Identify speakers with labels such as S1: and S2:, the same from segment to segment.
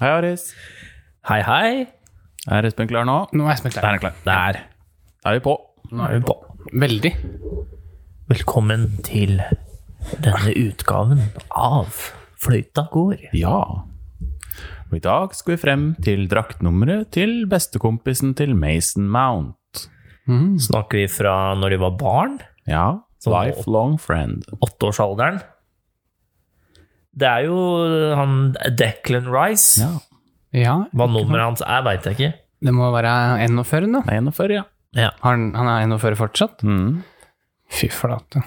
S1: Hei, Aris.
S2: Hei, hei.
S1: Er Espen klar nå?
S3: Nå er Espen klar.
S1: er han klar.
S2: Der.
S1: Da er vi på.
S2: Nå er vi på.
S3: Veldig.
S2: Velkommen til denne utgaven av Fløyta går.
S1: Ja. Og i dag skal vi frem til draktnummeret til bestekompisen til Mason Mount.
S2: Snakker vi fra når de var barn?
S1: Ja.
S2: Som nå.
S1: Lifelong friend.
S2: Åtteårsalderen? Det er jo han Declan Rice.
S1: Ja.
S3: Ja,
S2: Hva nummeret hans er, veit jeg ikke.
S3: det må være 41, da.
S1: Det er 41, ja.
S2: Ja.
S3: Han, han er 41 fortsatt?
S1: Mm.
S3: Fy flate.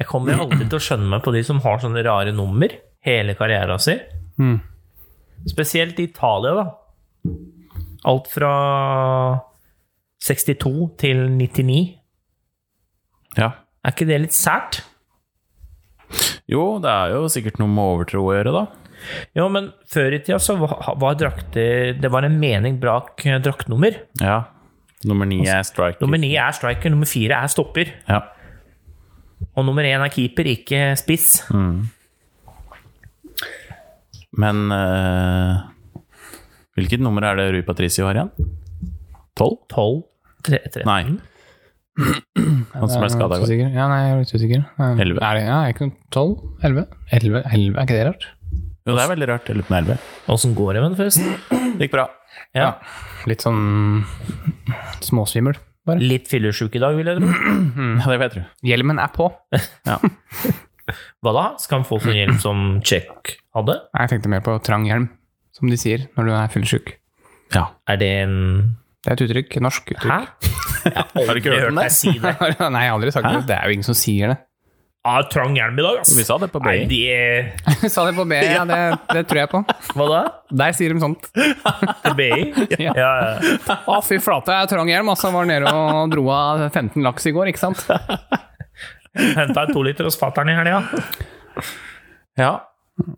S2: Jeg kommer jo aldri til å skjønne meg på de som har sånne rare nummer hele karriera si.
S3: Mm.
S2: Spesielt i Italia, da. Alt fra 62 til 99.
S1: ja.
S2: Er ikke det litt sært?
S1: Jo, det er jo sikkert noe med overtro å gjøre, da.
S2: Jo, men før i tida så var, var drakter Det var en mening bak eh, draktnummer.
S1: Ja. Altså, Nummer ni er striker.
S2: Nummer ni er striker, nummer fire er stopper.
S1: Ja.
S2: Og nummer én er keeper, ikke spiss.
S1: Mm. Men eh, hvilket nummer er det Rui Patricio har igjen? Tolv?
S2: Tolv, tre, tre.
S1: Nei. Han som ble skada i går.
S3: Usikker. Ja, nei, jeg er litt usikker. Eh,
S1: Elleve.
S3: Er det, ja, er det ikke noe 12? 11? 11? 11? Er ikke det rart?
S1: Jo, det er veldig rart. Jeg lurer på om det er elleve.
S2: Åssen går det med den, forresten?
S1: Det gikk bra.
S2: Ja.
S3: Litt sånn småsvimmel, bare.
S2: Litt fyllesyk i dag, vil jeg tro.
S1: Ja, det vet du.
S3: Hjelmen er på. Nei,
S1: Ja.
S2: Hva da? Skal han få sånn hjelp som Check hadde?
S3: Jeg tenkte mer på trang hjelm, som de sier når du er fyllesyk.
S1: ja.
S2: Er det en
S3: Det er et uttrykk. et Norsk uttrykk.
S2: Hæ? Jeg har aldri
S1: ikke hørt om
S2: hørt
S1: det?
S2: deg si det.
S3: Nei, jeg har aldri sagt det. Det er jo ingen som sier det.
S2: Ah, trang hjelm i dag, ass.
S1: Vi sa det på
S2: Nei,
S1: BI.
S2: det
S3: Sa det på B, ja. Det, det tror jeg på.
S2: Hva da?
S3: Der sier de sånt.
S2: Til BI?
S3: Ja.
S2: Ja, ja.
S3: Å, fy flate. jeg er Trang hjelm, altså. Var nede og dro av 15 laks i går, ikke sant?
S2: Henta en toliter hos fatter'n i helga.
S1: Ja.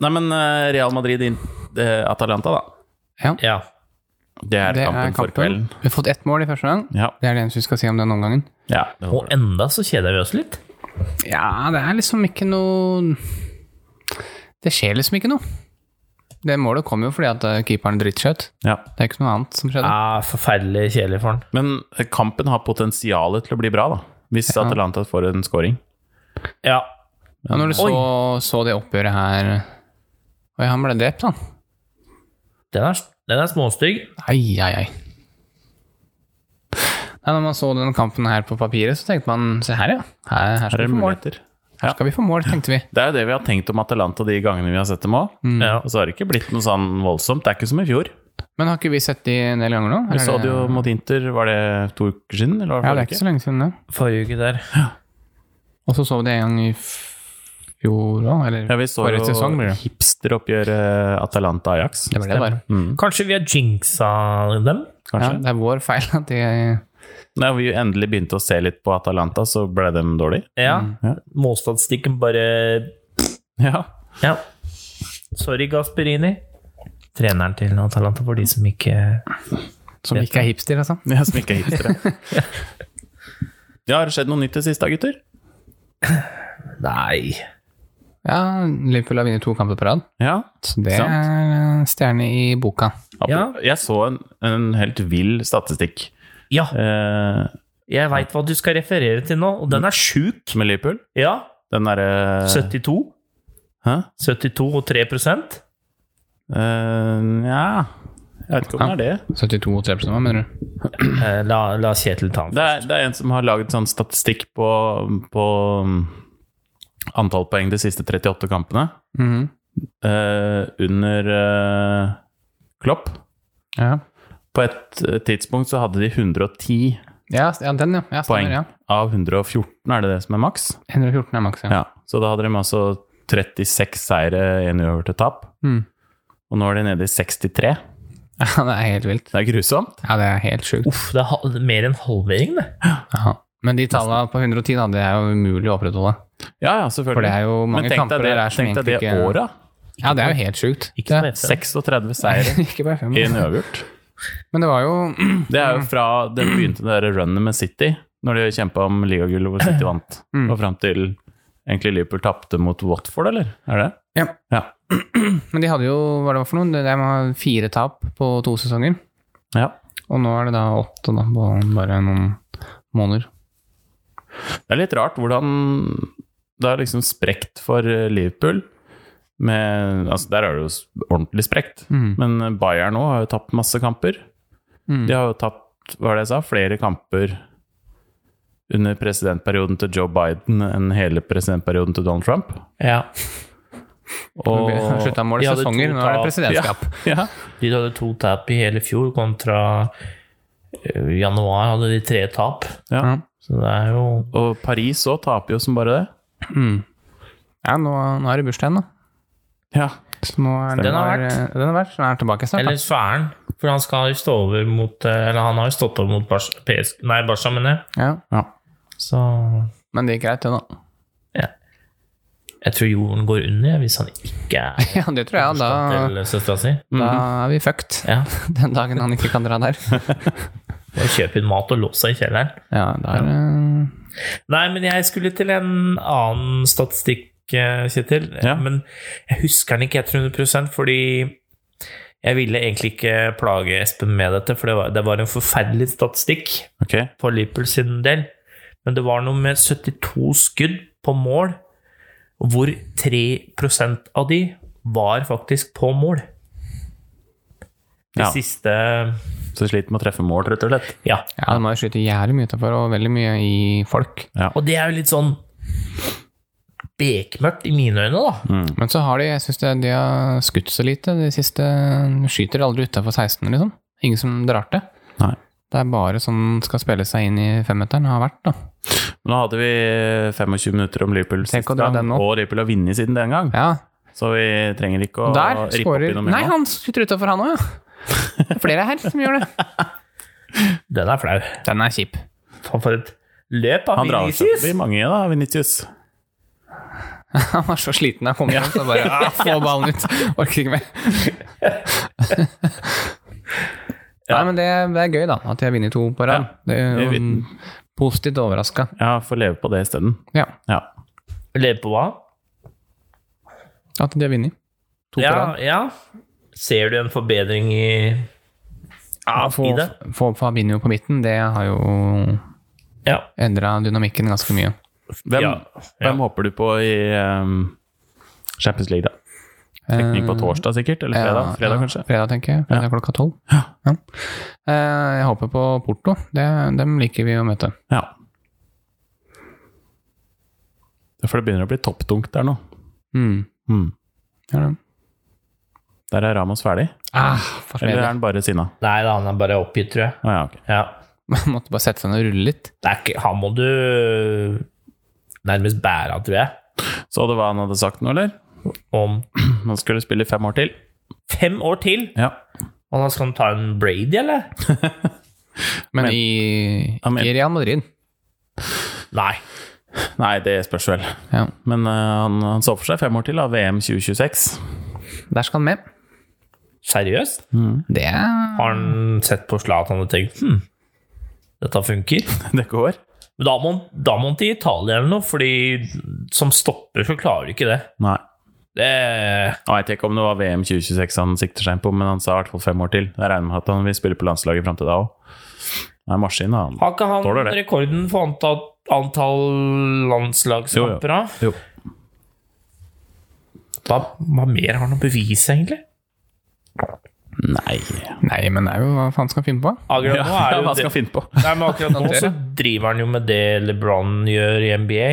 S1: Nei, men eh, Real Madrid inn, eh, Atalanta, da.
S2: Ja.
S1: Det er kampen for kvelden.
S3: Vi har fått ett mål i første gang.
S1: Ja.
S3: Det er det eneste vi skal si om den omgangen.
S1: ja.
S2: Og enda så kjeder vi oss litt.
S3: Ja, det er liksom ikke noe Det skjer liksom ikke noe. Det målet kom jo fordi at eh, keeperen drittskjøt.
S1: ja.
S3: Det er ikke noe annet som skjedde.
S2: Ja, forferdelig kjedelig for han.
S1: Men eh, kampen har potensialet til å bli bra, da. Hvis Atalanta får en scoring.
S2: Ja.
S3: Og når du så, så det oppgjøret her Oi, han ble drept, han.
S2: Den er, den er småstygg.
S3: Ai, ai, ai. Nei, når man så den kampen her på papiret, så tenkte man se her, ja. Her, her
S1: Her er
S3: skal vi
S1: det
S3: få mål.
S1: muligheter.
S3: Her skal vi få mål, tenkte vi.
S1: Det er jo det vi har tenkt om Atalanta de gangene vi har sett dem òg.
S3: Mm.
S2: Ja.
S1: Og så har det ikke blitt noe sånn voldsomt. Det er ikke som i fjor.
S3: Men har ikke vi sett de en del ganger nå?
S1: Vi
S3: Er
S1: så det jo mot Inter, var det to uker siden? Eller var
S3: Ja, det
S1: det
S3: er ikke så lenge siden det.
S2: Forrige uke der.
S3: Og så så vi det en gang i fjor òg, eller
S1: Ja, vi så
S3: forrige sesong, blir
S1: jo
S3: det.
S1: hipsteroppgjøret Atalanta-Ajax.
S3: Det var det, bare.
S1: Mm.
S2: Kanskje vi har jinxa dem?
S3: Ja,
S1: Kanskje.
S3: det er vår feil at de
S1: Når vi endelig begynte å se litt på Atalanta, så ble de dårlige.
S2: Ja.
S1: Mm, ja.
S2: Målstatistikken bare
S1: Ja.
S2: Ja. Sorry, Gasperini. Treneren til Atalanta, for de som ikke
S3: Som ikke er hipster, altså.
S1: Ja, som ikke er hipstere. ja, har det skjedd noe nytt det siste, da, gutter?
S2: Nei.
S3: Ja, Liverpool har vunnet to kamper på rad.
S1: Ja.
S3: Så det
S1: Sant.
S3: er stjerne i boka.
S2: Ja.
S1: Jeg så en, en helt vill statistikk
S2: Ja,
S1: eh,
S2: jeg veit hva du skal referere til nå, og den er sjuk.
S1: med Liverpool.
S2: Ja.
S1: Den derre
S2: 72.
S1: Hæ?
S2: 72 og 3
S1: Eh, Nja Jeg vet ikke om det er det.
S3: 72 og 3 hva mener du?
S2: Eh, La, la Kjetil ta den.
S1: Det er, det er en som har laget sånn statistikk på, på mm, antall poeng de siste 38 kampene.
S3: Mhm.
S1: eh, under eh, Klopp.
S3: ja.
S1: På et eh, tidspunkt så hadde de 110
S3: Ja, ja, den, ja. ja
S1: poeng
S3: stemmer, ja.
S1: av 114, er det det som er maks?
S3: 114 er maks, ja.
S1: Ja. Så da hadde de altså 36 seire, én uavgjort til tap.
S3: Mm.
S1: Og nå er de nede i 63.
S3: ja. Det er helt vilt.
S1: Det er grusomt.
S3: Ja, det er helt sjukt.
S2: Uff, det er hal- mer enn halvering, det.
S3: Ja. Men de tallene på 110, da, det er jo umulig å opprettholde.
S1: Ja, ja,
S3: For det
S1: selvfølgelig.
S3: er jo mange
S1: Men tenk
S3: kamper
S1: deg det,
S3: der er som
S1: tenk deg
S3: egentlig
S1: det
S3: ikke
S1: året.
S3: Ja, det er jo helt sjukt.
S2: Ikke som
S3: det,
S2: FN.
S1: 36 seire,
S3: ikke bare fem.
S1: én uavgjort.
S3: Men det var jo
S1: Det er jo fra det begynte det der runnet med City, når de kjempa om ligagullet hvor
S3: Mm.
S1: City vant, og fram til egentlig Liverpool tapte mot Watford, eller? Er det?
S3: Ja.
S1: Ja.
S3: Men de hadde jo hva det var for noe, det der var fire tap på to sesonger.
S1: Ja.
S3: Og nå er det da åtte da, på bare noen måneder.
S1: Det er litt rart hvordan det har liksom sprekt for eh, Liverpool. Med, altså der er det jo s- ordentlig sprekt,
S3: Mm.
S1: men eh, Bayern nå har jo tapt masse kamper. De har jo tapt hva var det jeg sa, flere kamper under presidentperioden til Joe Biden enn hele presidentperioden til Donald Trump.
S2: Ja.
S1: Og
S3: Slutta mål
S2: de hadde
S3: sesonger,
S2: to
S3: nå er det
S2: tap.
S3: presidentskap.
S1: ja,
S2: De hadde to tap i hele fjor, kontra eh, januar hadde de tre tap.
S1: ja.
S3: Ja.
S2: Så det er jo
S1: Og Paris òg taper jo som bare det.
S3: Ja, nå, nå er det bursdagen, da.
S1: Ja.
S3: Så nå er
S2: Den har
S3: nå er- Den har vært. Den er tilbake snart.
S2: Eller så er han. For han skal jo stå over mot eh, Eller han har jo stått over mot Bars, PS, nei, Barca, mener jeg.
S3: Da. Ja.
S2: Så
S3: Men det gikk greit, det, da.
S2: ja. Jeg tror jorden går under jeg, hvis han ikke er
S3: Ja, det tror jeg. Da,
S2: til søstera si.
S3: da er vi fucked.
S2: Ja.
S3: Den dagen han ikke kan dra der.
S2: Og kjøpe inn mat og låse seg i kjelleren.
S3: Ja, da er det
S2: Nei, men jeg skulle til en annen statistikk, eh, Kjetil.
S1: Ja.
S2: Men jeg husker den ikke helt 100 fordi jeg ville egentlig ikke plage Espen med dette, for det var, det var en forferdelig statistikk
S1: Ok.
S2: for Liverpool sin del. Men det var noe med 72 skudd på mål, hvor 3 av de var faktisk på mål. De
S1: Ja.
S2: siste
S1: Så sliter med å treffe mål, rett og slett.
S2: Ja.
S3: Ja, de må jo skyte jævlig mye utenfor, og veldig mye i folk.
S2: Og det er jo litt sånn bekmørkt i mine øyne, da.
S1: Mm.
S3: Men så har de Jeg syns de har skutt så lite de siste Skyter aldri utafor 16, liksom. Ingen som drar til.
S1: Nei.
S3: Det er bare sånn skal spille seg inn i femmeteren, har vært, da.
S1: Men nå hadde vi eh, 25 minutter om Liverpool
S3: Tenk
S1: siste
S3: å dra
S1: gang,
S3: den nå.
S1: og Liverpool har vunnet siden den gang.
S3: Ja,
S1: Så vi trenger ikke å
S3: der
S1: rippe opp i
S3: skårer
S1: noe
S3: Nei,
S1: mer nå.
S3: han skutter utafor, han òg, ja. Det er flere her som gjør det.
S2: Den er flau.
S3: Den er kjip.
S2: Faen, for et løp av
S1: Han drar seg opp i mange, da, Vinicius.
S3: Han var så sliten da han kom hjem, så bare ah, få ballen ut. Orker ikke mer. Nei, men det, det er gøy, da. At de har vunnet to på rad. Det er
S1: det er
S3: jo positivt overraska.
S1: Ja, får leve på det isteden.
S3: Ja,
S1: Ja.
S2: Lever på hva?
S3: at de har vunnet. To på
S2: Ja,
S3: rad.
S2: ja. Ser du en forbedring i
S3: Ja, få,
S2: i det.
S3: få Fabinho på midten, det har jo
S2: Ja.
S3: endra dynamikken ganske mye.
S1: Hvem,
S2: Ja, ja.
S1: hvem håper du på i ehm, Champions League, da? Trekning på torsdag, sikkert? Eller fredag?
S3: Eh, Ja,
S1: fredag
S3: ja,
S1: kanskje?
S3: Fredag, tenker jeg. Fredag klokka tolv. Ja. Eh, Jeg håper på Porto. Det, dem liker vi å møte.
S1: Ja. For det begynner å bli topptungt der nå.
S3: Mm.
S1: Mm.
S3: Ja, det.
S1: Der er Ramos ferdig?
S3: Ah, for
S1: Eller er
S3: fredag.
S1: han bare sinna?
S2: Nei da, han er bare oppgitt, tror jeg.
S1: Å ja, ok.
S2: Ja.
S3: Man måtte bare sette seg ned og rulle litt.
S2: Det er ikke, han må du nærmest bære av, tror jeg.
S1: Så det hva han hadde sagt nå, eller?
S2: Om
S1: Han skulle spille fem år til?
S2: fem år til.
S1: Ja.
S2: Og da skal han ta en Brady, eller?
S3: Men,
S1: Men-
S3: i,
S1: Ja, men-
S3: i Real Madrid
S2: Nei.
S1: Nei, det spørs vel.
S3: ja.
S1: Men eh, han, han så for seg fem år til, da. VM 2026.
S3: Der skal han med.
S2: Seriøst?
S3: Det er
S2: Har han sett på Zlatan og tenkt hm, dette funker?
S1: Det går.
S2: Men da må, han- da må han til Italia eller noe, fordi som stopper så klarer du ikke det.
S1: Nei.
S2: Det
S1: Jeg vet ikke om det var VM 2026 han sikter seg inn på, men han sa i hvert fall fem år til. Jeg regner med at han vil spille på landslaget fram til da òg. Han er maskin, da, han.
S2: Har ikke
S1: Tåler
S2: han
S1: det.
S2: rekorden for antall, antall landslagskamper? da?
S1: Jo.
S2: Hva, hva mer har han å bevise, egentlig?
S1: Nei
S3: Nei, men det er jo hva faen skal han finne på?
S2: Akkurat
S1: Ja,
S2: nå, er
S1: ja,
S2: det jo
S1: hva skal
S2: det,
S1: han finne på?
S2: nei, men akkurat nå så driver han jo med det LeBron gjør i NBA.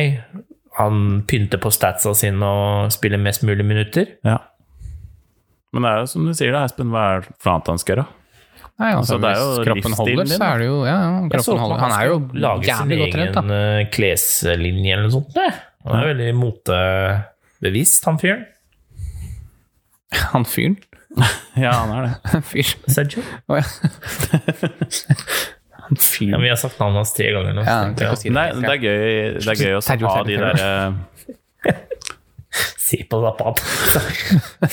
S2: Han pynter på statsa sine og spiller mest mulig minutter.
S1: Ja. Men det er jo som du sier, da, Espen. Hva er det for annet han skal gjøre?
S3: Nei, altså,
S1: Altså, det er
S3: hvis
S1: jo
S3: kroppen
S1: livsstilen
S3: holder,
S1: din,
S3: så
S1: da.
S3: er det jo ja, ja,
S2: Jeg så
S3: kroppen
S2: på
S3: holder.
S2: han
S3: Han er jo
S2: skal lage sin
S3: jævlig godt trent, da.
S2: egen eh, kleslinje eller noe sånt. det. Han er veldig motebevisst, han fyren.
S3: Han fyren.
S1: Ja, han er det.
S3: Fyr.
S2: Sergio.
S3: Å, ja. Han
S2: Ja,
S3: fyren.
S2: vi har sagt navnet hans tre ganger nå.
S3: Ja,
S2: så tenkte
S3: tenk å
S2: jeg,
S3: si det.
S1: Nei, det er gøy, det er gøy å
S3: Terror,
S1: ha de eh,
S3: terror,
S1: derre
S2: Se på Zapata.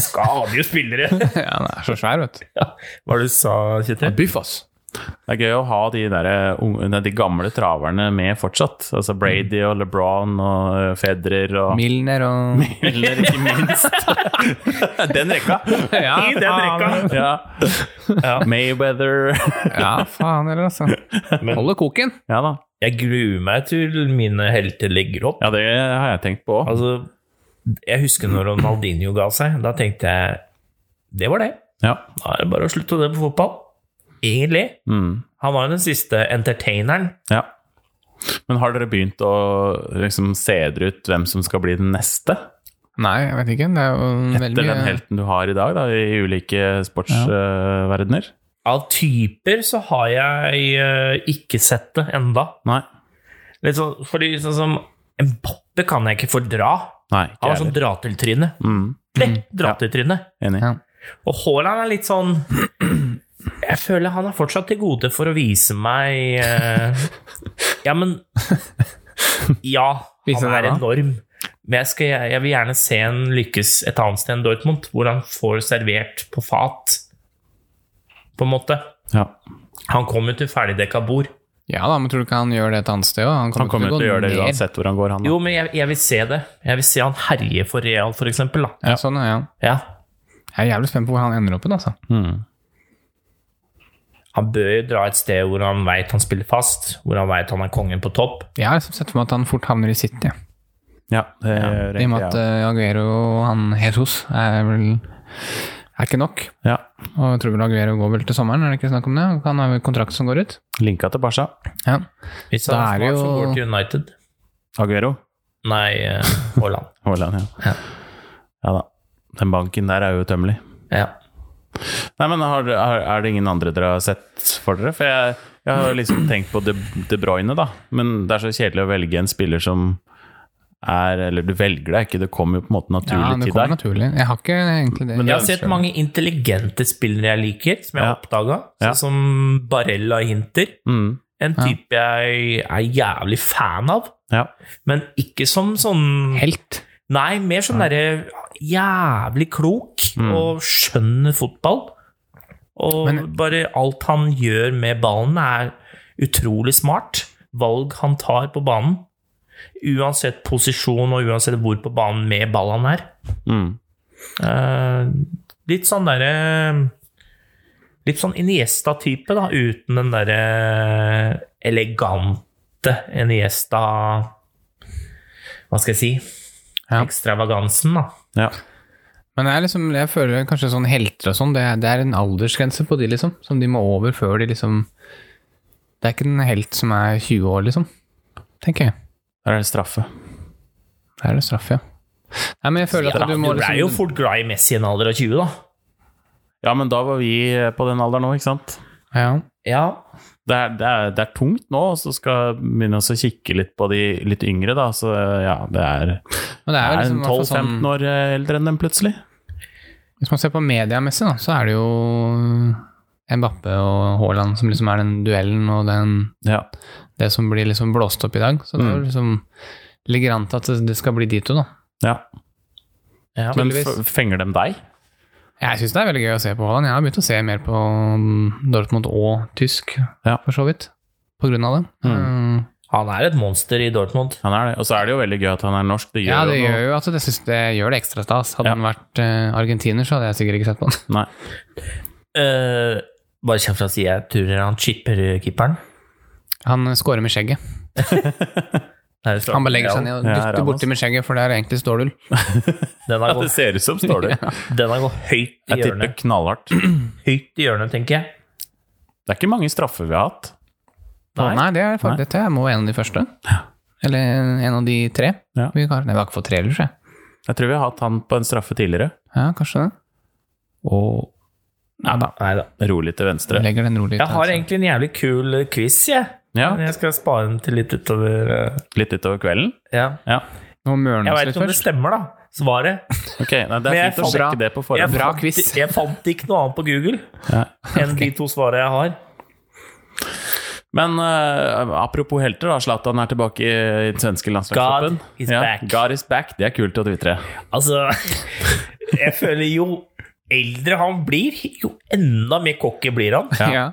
S2: Skader jo spillere.
S3: Ja, han er så svær, vet du.
S2: Hva er det du sa, Kjetil?
S3: Biff, ass.
S1: Det er gøy å ha de, der, eh, unge- nei, de gamle traverne med fortsatt. Altså Brady og LeBron og eh, Federer og
S3: Milner og
S1: Miller, ikke minst. Den rekka.
S3: Ja,
S2: I den rekka.
S1: Ja.
S2: Ja.
S1: Mayweather.
S3: Ja, faen heller, altså. Holder koken.
S1: Ja da.
S2: Jeg gruer meg til mine helter legger opp.
S1: Ja, det har jeg tenkt på òg.
S2: Altså, jeg husker når Ronaldinho ga seg. Da tenkte jeg det var det.
S1: Ja.
S2: Da er det bare å slutte det på fotball. Egentlig.
S1: Mm.
S2: Han var jo den siste entertaineren.
S1: ja. Men har dere begynt å liksom se dere ut hvem som skal bli den neste?
S3: Nei, jeg vet ikke. Det er jo veldig
S1: Etter den
S3: mye
S1: helten du har i dag, da, i ulike sportsverdener?
S2: Av typer så har jeg eh, ikke sett det enda.
S1: Nei.
S2: Litt sånn, fordi sånn som Mbappe kan jeg ikke fordra.
S1: Nei,
S2: Han
S3: Ah,
S1: ikke
S2: var
S1: jeg
S2: sånn
S1: heller.
S2: dra til trynet.
S1: Mm.
S2: Dra til trynet.
S1: Enig.
S3: Ja.
S2: Og Haaland er litt sånn Jeg føler han er fortsatt til gode for å vise meg eh, Ja, men Ja,
S3: Vise
S2: han
S3: deg
S2: er
S3: hva?
S2: enorm. Men jeg, skal, jeg vil gjerne se en lykkes et annet sted enn Dortmund, hvor han får servert på fat, på en måte.
S1: Ja.
S2: Han kom jo til ferdigdekka bord.
S3: ja da, men tror du ikke han gjør det et annet sted òg? Han
S1: Han kommer
S3: ikke
S1: til å
S3: gå
S1: gjøre det
S3: ned.
S1: uansett hvor han går, han. da.
S2: Jo, men jeg, jeg vil se det. Jeg vil se han herje for Real, for eksempel. Da.
S3: Ja, sånn, ja.
S2: Ja.
S3: Jeg er jævlig spent på hvor han ender opp igjen, altså.
S1: Mm.
S2: Han bør jo dra et sted hvor han veit han spiller fast, hvor han veit han er kongen på topp.
S3: Jeg har liksom sett for meg at han fort havner i City.
S1: Ja, det gjør
S3: I og
S1: egentlig
S3: med at
S1: jeg.
S3: eh, Aguero og han Jesus er vel er ikke nok.
S1: Ja.
S3: Og jeg tror vel Aguero går vel til sommeren, er det ikke snakk om det? Han har vel kontrakt som går ut.
S1: Linka til Barca.
S3: Ja.
S2: Hvis
S3: Da
S2: han
S3: er det
S2: snart
S3: jo-
S2: så går til United.
S1: Aguero.
S2: Nei, eh, Haaland.
S1: Haaland, ja.
S2: Ja.
S1: Ja da. Den banken der er utømmelig.
S2: Ja.
S1: Nei, men har, har, Er det ingen andre dere har sett for dere? For jeg, jeg har liksom tenkt på De, de Bruyne, da. Men det er så kjedelig å velge en spiller som er Eller du velger deg ikke, det kommer jo på en måte
S3: Ja,
S1: naturlig
S3: det
S1: til
S3: kommer
S1: deg.
S3: naturlig. Jeg har ikke egentlig det.
S1: Men
S2: Jeg
S1: det-
S2: har sett mange intelligente spillere jeg liker, som jeg
S1: Ja.
S2: har oppdaga.
S1: Ja.
S2: Sånn som Barella Hinter.
S1: Mm,
S2: En type jeg er jævlig fan av.
S1: ja.
S2: Men ikke som sånn
S3: Helt.
S2: Nei, mer som derre jævlig klok og skjønner fotball. Og
S3: Men-
S2: bare alt han gjør med ballen, er utrolig smart. Valg han tar på banen. Uansett posisjon og uansett hvor på banen med ball han er.
S1: Mm.
S2: Eh, litt sånn derre Litt sånn Iniesta-type, da, uten den derre elegante Iniesta Hva skal jeg si?
S3: Ja.
S2: Ekstravagansen, da.
S1: ja.
S3: Men jeg, er liksom, jeg føler kanskje sånn helter og sånn, det, er- det er en aldersgrense på de, liksom. Som de må over før de liksom Det er ikke en helt som er 20 år, liksom. Tenker jeg.
S1: Der er det straffe.
S3: Der er det straff, ja. Nei, men jeg føler at
S2: Du,
S3: du må
S2: ble jo
S3: liksom
S2: fort glad i Messi i en alder av 20, da.
S1: Ja, men da var vi på den alderen nå, ikke sant?
S3: Ja.
S2: Ja.
S1: det er, det, er, det er tungt nå, og så skal jeg begynne også å kikke litt på de litt yngre, da. Så ja, det er,
S3: Men det
S1: det
S3: er
S1: er
S3: jo liksom
S1: en
S3: i hvert fall
S1: 12-15
S3: sånn
S1: år eldre enn dem plutselig.
S3: Hvis man ser på mediamessig, da, så er det jo Mbappe og Haaland som liksom er den duellen og den,
S1: Ja.
S3: det som blir liksom blåst opp i dag. Så det er jo liksom ligger an til at det skal bli de to, da.
S1: ja.
S2: ja.
S1: Men
S3: Tydeligvis.
S1: f- fenger dem deg?
S3: Jeg syns det er veldig gøy å se på Haaland. Jeg har begynt å se mer på mm, Dortmund og tysk,
S1: Ja.
S3: for så vidt. På grunn av det. Mm.
S2: Han er et monster i Dortmund.
S1: Han er det. Og så er det jo veldig gøy at han er norsk. Det gjør
S3: Ja, det
S1: jo noe.
S3: gjør jo at det, synes det gjør det ekstra stas. Hadde
S1: Ja.
S3: han vært eh, argentiner, så hadde jeg sikkert ikke sett på han.
S1: Nei.
S2: Eh, bare kjapt fra å si jeg tror han chipper keeperen.
S3: Han scorer med skjegget.
S2: Nei, det står-
S3: Han bare legger seg ned og
S1: Ja,
S3: dytter
S1: Ramos.
S3: borti med skjegget, for der egentlig står du.
S2: Den har
S1: Ja, det
S2: gått,
S1: ser ut som, står det.
S2: den har gått høyt i
S1: Jeg tipper
S2: hjørnet.
S1: knallhardt.
S2: Høyt i hjørnet, tenker jeg.
S1: Det er ikke mange straffer vi har hatt.
S3: Nei,
S2: Nei.
S3: det er faktisk, dette må være en av de første. Eller en av de tre.
S1: Ja.
S3: Vi har, nei, vi har ikke fått tre, eller tror jeg.
S1: Jeg tror vi har hatt han på en straffe tidligere.
S3: Ja, kanskje det.
S1: Og
S3: Ja da.
S2: Neida.
S1: rolig til venstre.
S3: Legger den rolig ut.
S2: Jeg har
S3: altså.
S2: egentlig en jævlig kul eh, quiz, jeg.
S1: Ja,
S2: Men jeg skal spare den til litt utover eh,
S1: Litt utover kvelden.
S2: ja.
S1: Ja.
S3: Nå møler den
S2: Jeg
S3: oss
S2: veit
S3: litt
S2: ikke om det
S3: først.
S2: stemmer, da. Svaret.
S1: Ok, Nei, Det
S2: Men
S1: er
S2: jeg
S1: fint å
S2: fant-
S1: sjekke det på
S2: Jeg
S1: forhånd.
S3: Bra
S2: fant,
S3: quiz.
S2: jeg fant ikke noe annet på Google
S1: Ja.
S2: enn de to svarene jeg har.
S1: Men eh, apropos helter, da. Zlatan er tilbake i i den svenske landslagstroppen.
S2: God is back.
S1: God is back. Det er kult å tvitre.
S2: Altså, jeg føler jo eldre han blir, jo enda mer cocky blir han.
S3: Ja.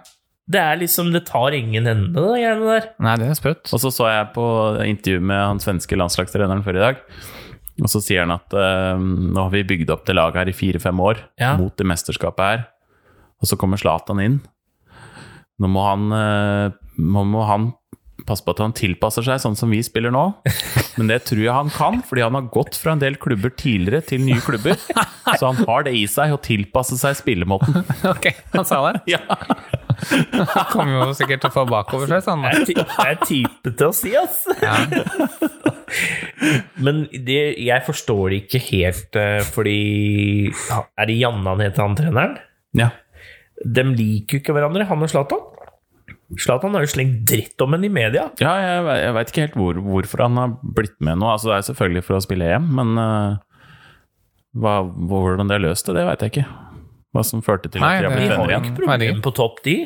S2: Det er liksom Det tar ingen ende, det greiene der.
S3: Nei, det er sprøtt.
S1: Og så så jeg på intervju med han svenske landslagstreneren før i dag. Og så sier han at eh, nå har vi bygd opp det laget her i fire-fem år,
S2: Ja.
S1: mot det mesterskapet her. Og så kommer Zlatan inn. Nå må han, eh, nå må han passe på at han tilpasser seg sånn som vi spiller nå. Men det tror jeg han kan, fordi han har gått fra en del klubber tidligere til nye klubber. Så han har det i seg å tilpasse seg spillemåten.
S3: ok, han sa det.
S1: Ja.
S3: Han kommer jo sikkert til å få bakoversveis, han. da.
S2: Det er ty- det er type til å si, ass. Men det, jeg forstår det ikke helt, eh, fordi Er det Janne han heter, han treneren?
S1: ja.
S2: De liker jo ikke hverandre, han og Zlatan. Zlatan har jo slengt dritt om henne i media.
S1: Ja, jeg, ve- jeg veit ikke helt hvor, hvorfor han har blitt med nå. Altså, det er selvfølgelig for å spille EM, men eh, hva, hvordan det er løst, det, det veit jeg ikke. Hva som førte til
S3: Nei,
S1: at de har
S3: det-
S2: De
S1: blitt
S2: har
S1: venner
S2: jo
S1: igjen.
S2: ikke
S3: Herregud.
S2: problem på topp, de.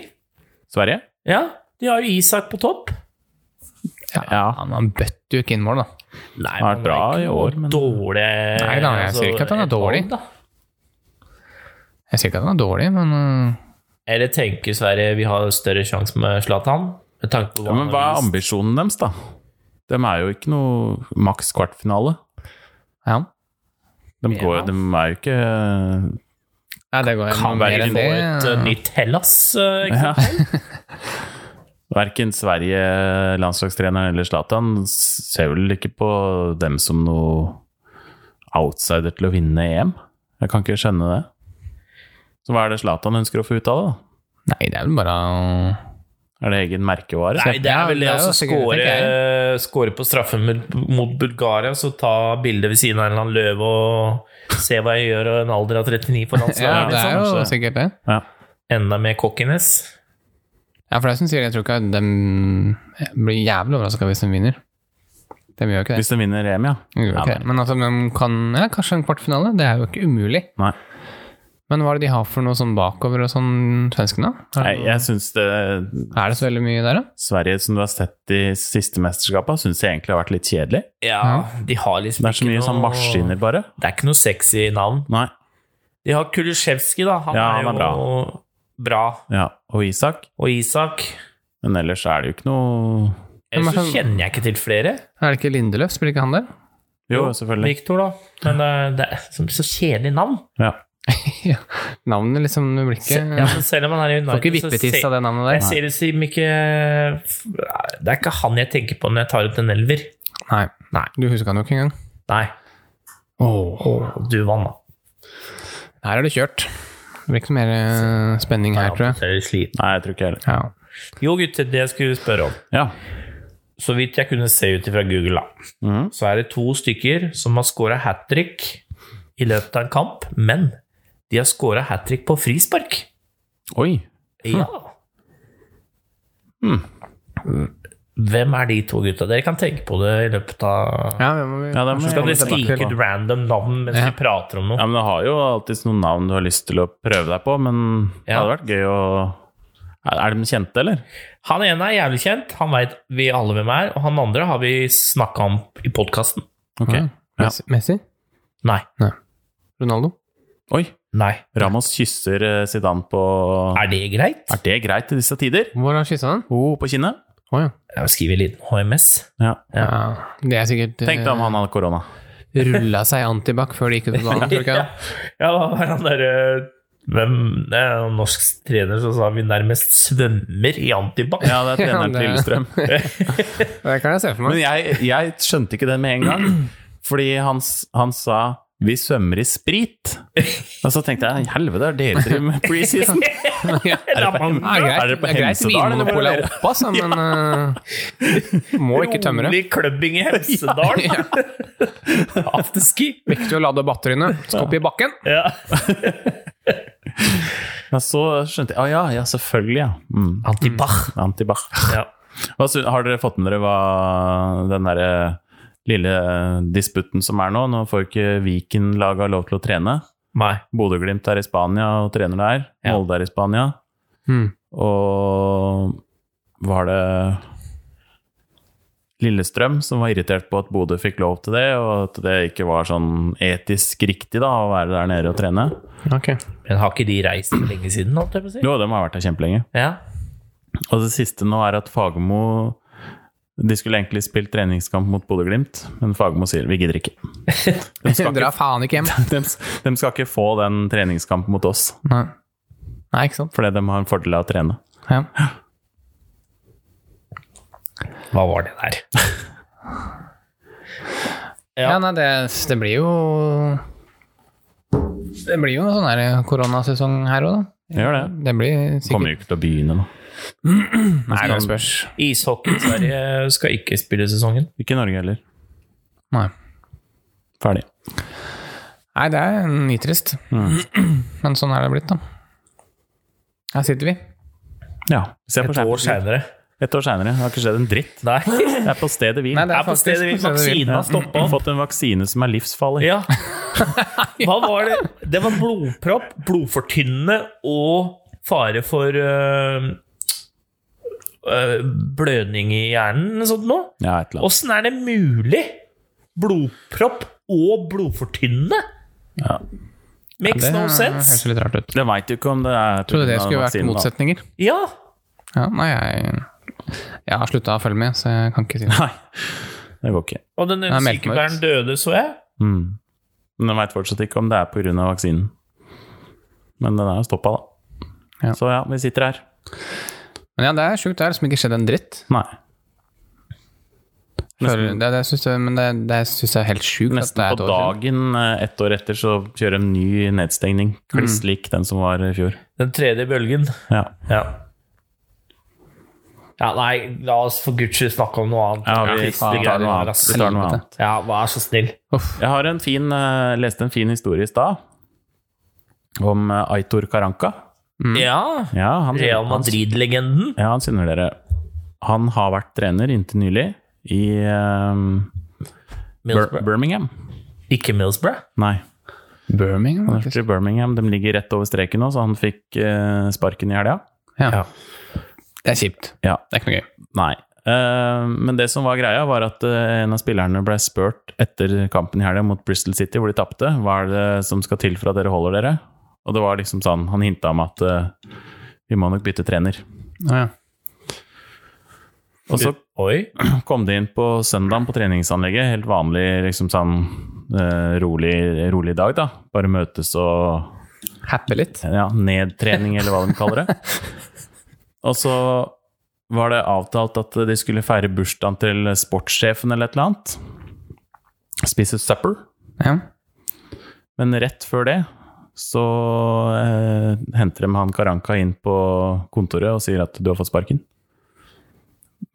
S1: Sverige?
S2: Ja, De har jo Isak på topp.
S1: Ja.
S3: Han, han bøtte jo ikke inn mål, da.
S2: Nei,
S1: har vært bra i år, men-
S2: Dårlig
S3: Nei da, jeg sier ikke at han er
S2: et valg,
S3: dårlig.
S2: da.
S3: Jeg sier ikke at han er dårlig, men øh,
S2: Eller tenker Sverige vi har større sjanse med Zlatan? Med tanke på
S1: Ja, men
S2: han
S1: hva
S2: har
S1: er
S2: vist.
S1: ambisjonen deres, da? De er jo ikke noe maks kvartfinale.
S3: ja.
S1: De, går,
S2: Ja.
S1: de er jo ikke
S3: Nei, det går
S2: Kan
S3: mer
S2: være
S3: enn
S2: få et
S3: det.
S2: eh, nytt Hellas. eh, ikke
S1: ja.
S2: sant?
S1: Verken Sverige, landslagstreneren eller Zlatan ser vel ikke på dem som noe outsider til å vinne EM. Jeg kan ikke skjønne det. Så hva er det Zlatan ønsker å få ut av det? da?
S3: Nei, det er vel bare å
S1: Er det egen merkevare?
S2: Nei, det
S3: Ja,
S2: er vel det.
S3: det er jo
S2: Altså,
S3: sikkert- tenker
S2: skåre, skåre på straffen mot- mot Bulgaria, så ta bilde ved siden av en eller annen løve og se hva jeg gjør, og en alder av 39 på
S3: Ja,
S2: landslaget.
S3: det
S2: liksom.
S3: er jo
S1: kanskje.
S3: sikkert det.
S1: Ja.
S2: Enda mer cockiness.
S3: Ja, for det er som sier, jeg tror ikke at de blir jævlig overraska hvis de vinner. De gjør jo ikke det.
S1: Hvis de vinner EM, ja.
S3: De gjør jo ikke
S1: Ja,
S3: det. Men altså, de kan ja, kanskje en kvartfinale. Det er jo ikke umulig.
S1: Nei.
S3: Men hva er det de har for noe sånn bakover og sånn, svenskene?
S1: Nei, jeg syns det
S3: Er det så veldig mye der, da?
S1: Sverige som du har sett i siste mesterskapa, syns jeg egentlig har vært litt kjedelig.
S2: Ja, de har liksom
S1: Det er så mye sånn maskiner, bare.
S2: Det er ikke noe sexy navn.
S1: Nei.
S2: De har Kulisjevskij, da. Han
S1: Ja,
S2: er
S1: han
S2: jo
S1: er
S2: bra.
S1: Ja, og Isak.
S2: Og Isak.
S1: Men ellers er det jo ikke noe
S2: Ellers så
S3: Men han-
S2: kjenner jeg ikke til flere.
S3: Er det ikke Lindeløf? Spiller ikke han der?
S1: Jo, selvfølgelig.
S2: Victor, da. Men eh, det er så så kjedelig navn.
S1: Ja.
S3: ja. Navnet liksom det blir ikke
S2: Ja, men selv om han er i United,
S3: Får ikke
S2: så
S3: vippetiss
S2: ser-
S3: av det navnet
S2: Jeg
S3: der.
S2: ser det som ikke Det er ikke han jeg tenker på når jeg tar ut en elver.
S3: Nei. Nei. Du husker han jo ikke engang.
S2: Nei. Du vant, da.
S3: Her er det kjørt. Det blir ikke mer eh, spenning her, tror jeg.
S2: Så er det slit.
S1: Nei, jeg tror ikke jeg heller.
S3: Ja.
S2: Jo, gutter, det jeg skulle spørre om.
S1: Ja.
S2: Så vidt jeg kunne se ut ifra Google, da,
S1: Mhm.
S2: så er det to stykker som har scora hat trick i løpet av en kamp, men de har scora hat trick på frispark.
S1: Oi.
S2: Ja. Hm. Hvem er de to gutta? Dere kan tenke på det i løpet av
S3: Ja, det må vi
S1: Ja, det må
S3: kanskje
S1: vi-
S2: Skal
S3: komme
S2: dere
S3: tilbake til.
S2: skrike ut random navn mens vi prater om noe?
S1: Ja, men du har jo alltid noen navn du har lyst til å prøve deg på, men det
S2: Ja.
S1: hadde vært gøy å Er er de kjente, eller?
S2: Han ene er jævlig kjent, han veit vi alle hvem er, og han andre har vi snakka om i podkasten.
S1: Ok.
S3: Ja.
S1: Ja.
S3: Messi- Messi?
S2: Nei.
S3: Ronaldo?
S1: Oi.
S2: Nei.
S1: Ramos kysser eh, Zidane på
S2: Er det greit?
S1: Er det greit i disse tider?
S3: Hvor har han kyssa den?
S1: Oh, på kinnet?
S3: Å ja.
S2: Jeg skriver en liten HMS.
S1: Ja.
S3: ja. Det er sikkert eh,
S1: Tenk deg om han hadde korona.
S3: rulla seg antibac før de gikk ut på banen. tror du ikke
S2: Ja,
S3: det?
S2: ja hva var han derre Hvem det er en norsk trener som sa vi nærmest svømmer i antibac?
S1: Ja, det er treneren til
S3: Ja, det-
S1: Lillestrøm.
S3: Det kan jeg se for
S1: Men
S3: meg.
S1: jeg, jeg skjønte ikke det med en gang, fordi han, s- han sa vi svømmer i sprit. Og så tenkte jeg helvete, er dere driver med preseason?
S3: Ja.
S1: Er det på,
S2: Ramon.
S1: Hem- er det på
S3: det er greit
S1: Hemsedal, eller hvor er
S3: vinmonopolet er
S1: dere?
S3: oppe, altså, men eh, må ikke tømme det.
S2: Rolig klubbing i Hemsedal. Afterski.
S3: Viktig å lade batteriene. Skopp i bakken.
S2: Ja.
S1: Ja, så skjønte jeg. Å ja, ja, selvfølgelig, ja. Mm.
S2: Antibac.
S1: Antibach.
S2: Ja.
S1: Hva sy- Har dere fått med dere hva den derre lille eh, disputten som er nå? Nå får jo ikke Viken-laga lov til å trene.
S2: Nei.
S1: Bodø-Glimt er i Spania og trener der.
S2: Ja.
S1: Molde er i Spania.
S3: Mm.
S1: Og var det Lillestrøm som var irritert på at Bodø fikk lov til det, og at det ikke var sånn etisk riktig da, å være der nede og trene.
S3: Ok.
S2: Men har ikke de reist for lenge siden, holdt jeg på å si?
S1: Jo, de har vært der kjempelenge.
S2: Ja.
S1: Og det siste nå er at Fagermo De skulle egentlig spilt treningskamp mot Bodø-Glimt, men Fagermo sier vi gidder ikke. De skal
S3: Dra
S1: ikke,
S3: faen ikke hjem.
S1: de, de skal ikke få den treningskampen mot oss,
S3: Nei, Nei ikke sant.
S1: fordi de har en fordel av å trene.
S3: Ja.
S2: Hva var det der?
S3: Ja, nei, det, det blir jo Det blir jo en sånn her koronasesong her òg, da.
S1: Gjør det.
S3: Det blir
S1: Kommer
S3: sikkert
S1: jo ikke til å begynne nå.
S3: Nei, det spørs.
S2: Ishockey i Sverige skal ikke spille sesongen.
S1: Ikke i Norge heller.
S3: Nei.
S1: Ferdig.
S3: nei, det er nitrist.
S1: Mm.
S3: Men sånn er det blitt, da. Her sitter vi.
S1: Ja. Se på
S2: Et år
S1: skjermen.
S2: seinere.
S1: Et år seinere. Det har ikke skjedd en dritt.
S2: Nei.
S1: Det er på stedet hvil.
S3: Nei, det
S2: Jeg er på
S3: faktisk
S2: stedet vi
S3: på stedet vi-
S2: vaksinen har stoppa opp.
S1: Fått en vaksine som er livsfarlig.
S2: Ja. Hva var det? Det var blodpropp, blodfortynnende og fare for øh, øh, blødning i hjernen eller sånt noe.
S1: Ja, et eller annet.
S2: Åssen er det mulig? Blodpropp og blodfortynnende?
S1: Ja.
S2: Makes
S3: Det
S2: no
S3: høres
S2: sense.
S3: litt rart ut.
S1: Jeg veit jo ikke om det er
S3: Trodde det skulle vært
S1: vaksinen, da.
S3: motsetninger.
S2: Ja.
S3: Ja, nei, jeg, jeg har slutta å følge med, så jeg kan ikke si noe.
S1: Nei, det går ikke.
S2: Og den
S3: er melkemørkt.
S2: sykepleieren døde, så jeg.
S1: Mm. Men jeg veit fortsatt ikke om det er pga. vaksinen. Men den er jo stoppa, da.
S3: Ja.
S1: Så ja, vi sitter her.
S3: Men ja, det er sjukt. Det har liksom ikke skjedd en dritt.
S1: Nei.
S3: Føler- det, det synes jeg, men det, det syns jeg er helt sjukt. at det
S1: Nesten
S3: er
S1: på
S3: et år siden.
S1: dagen eh, ett år etter så kjører en ny nedstengning. Kliss lik den som var i fjor.
S2: Den tredje bølgen.
S1: Ja.
S2: Ja. ja, nei, la oss for guds skyld snakke om noe annet.
S1: Ja, vi,
S2: Triste
S1: tar noe
S2: greier,
S1: annet.
S2: ass.
S1: vi tar noe annet.
S2: Ja, vær så snill.
S3: Uff.
S1: Jeg har en fin, eh, leste en fin historie i stad om eh, Aitor Karanka. Mm.
S2: Ja.
S1: Ja, han,
S2: Real Madrid-legenden.
S1: ja, han kjenner dere. Han har vært trener inntil nylig i eh, Bir
S2: Middlesbrough.
S1: Birmingham.
S2: Ikke Middlesbrough.
S1: Nei,
S3: Birmingham,
S1: han har vært
S3: faktisk.
S1: i Birmingham. De ligger rett over streken nå, så han fikk eh, sparken i helga.
S3: Ja. Det er kjipt.
S1: Ja,
S3: Det er ikke noe gøy.
S1: nei. Eh, men det som var greia, var at eh, en av spillerne ble spurt etter kampen i helga mot Bristol City, hvor de tapte, hva er det som skal til for at dere holder dere? Og det var liksom sånn, han hinta om at eh, vi må nok bytte trener.
S3: Å, ja.
S1: Og så
S2: Oi.
S1: kom de inn på søndagen på treningsanlegget. Helt vanlig, liksom sånn eh, rolig, rolig dag, da. Bare møtes og
S3: Happe litt.
S1: ja, nedtrening, eller hva de kaller det. Og så var det avtalt at de skulle feire bursdagen til sportssjefen eller et eller annet. Spise supper.
S3: Ja.
S1: Men rett før det så eh, henter de han Karanka inn på kontoret og sier at du har fått sparken.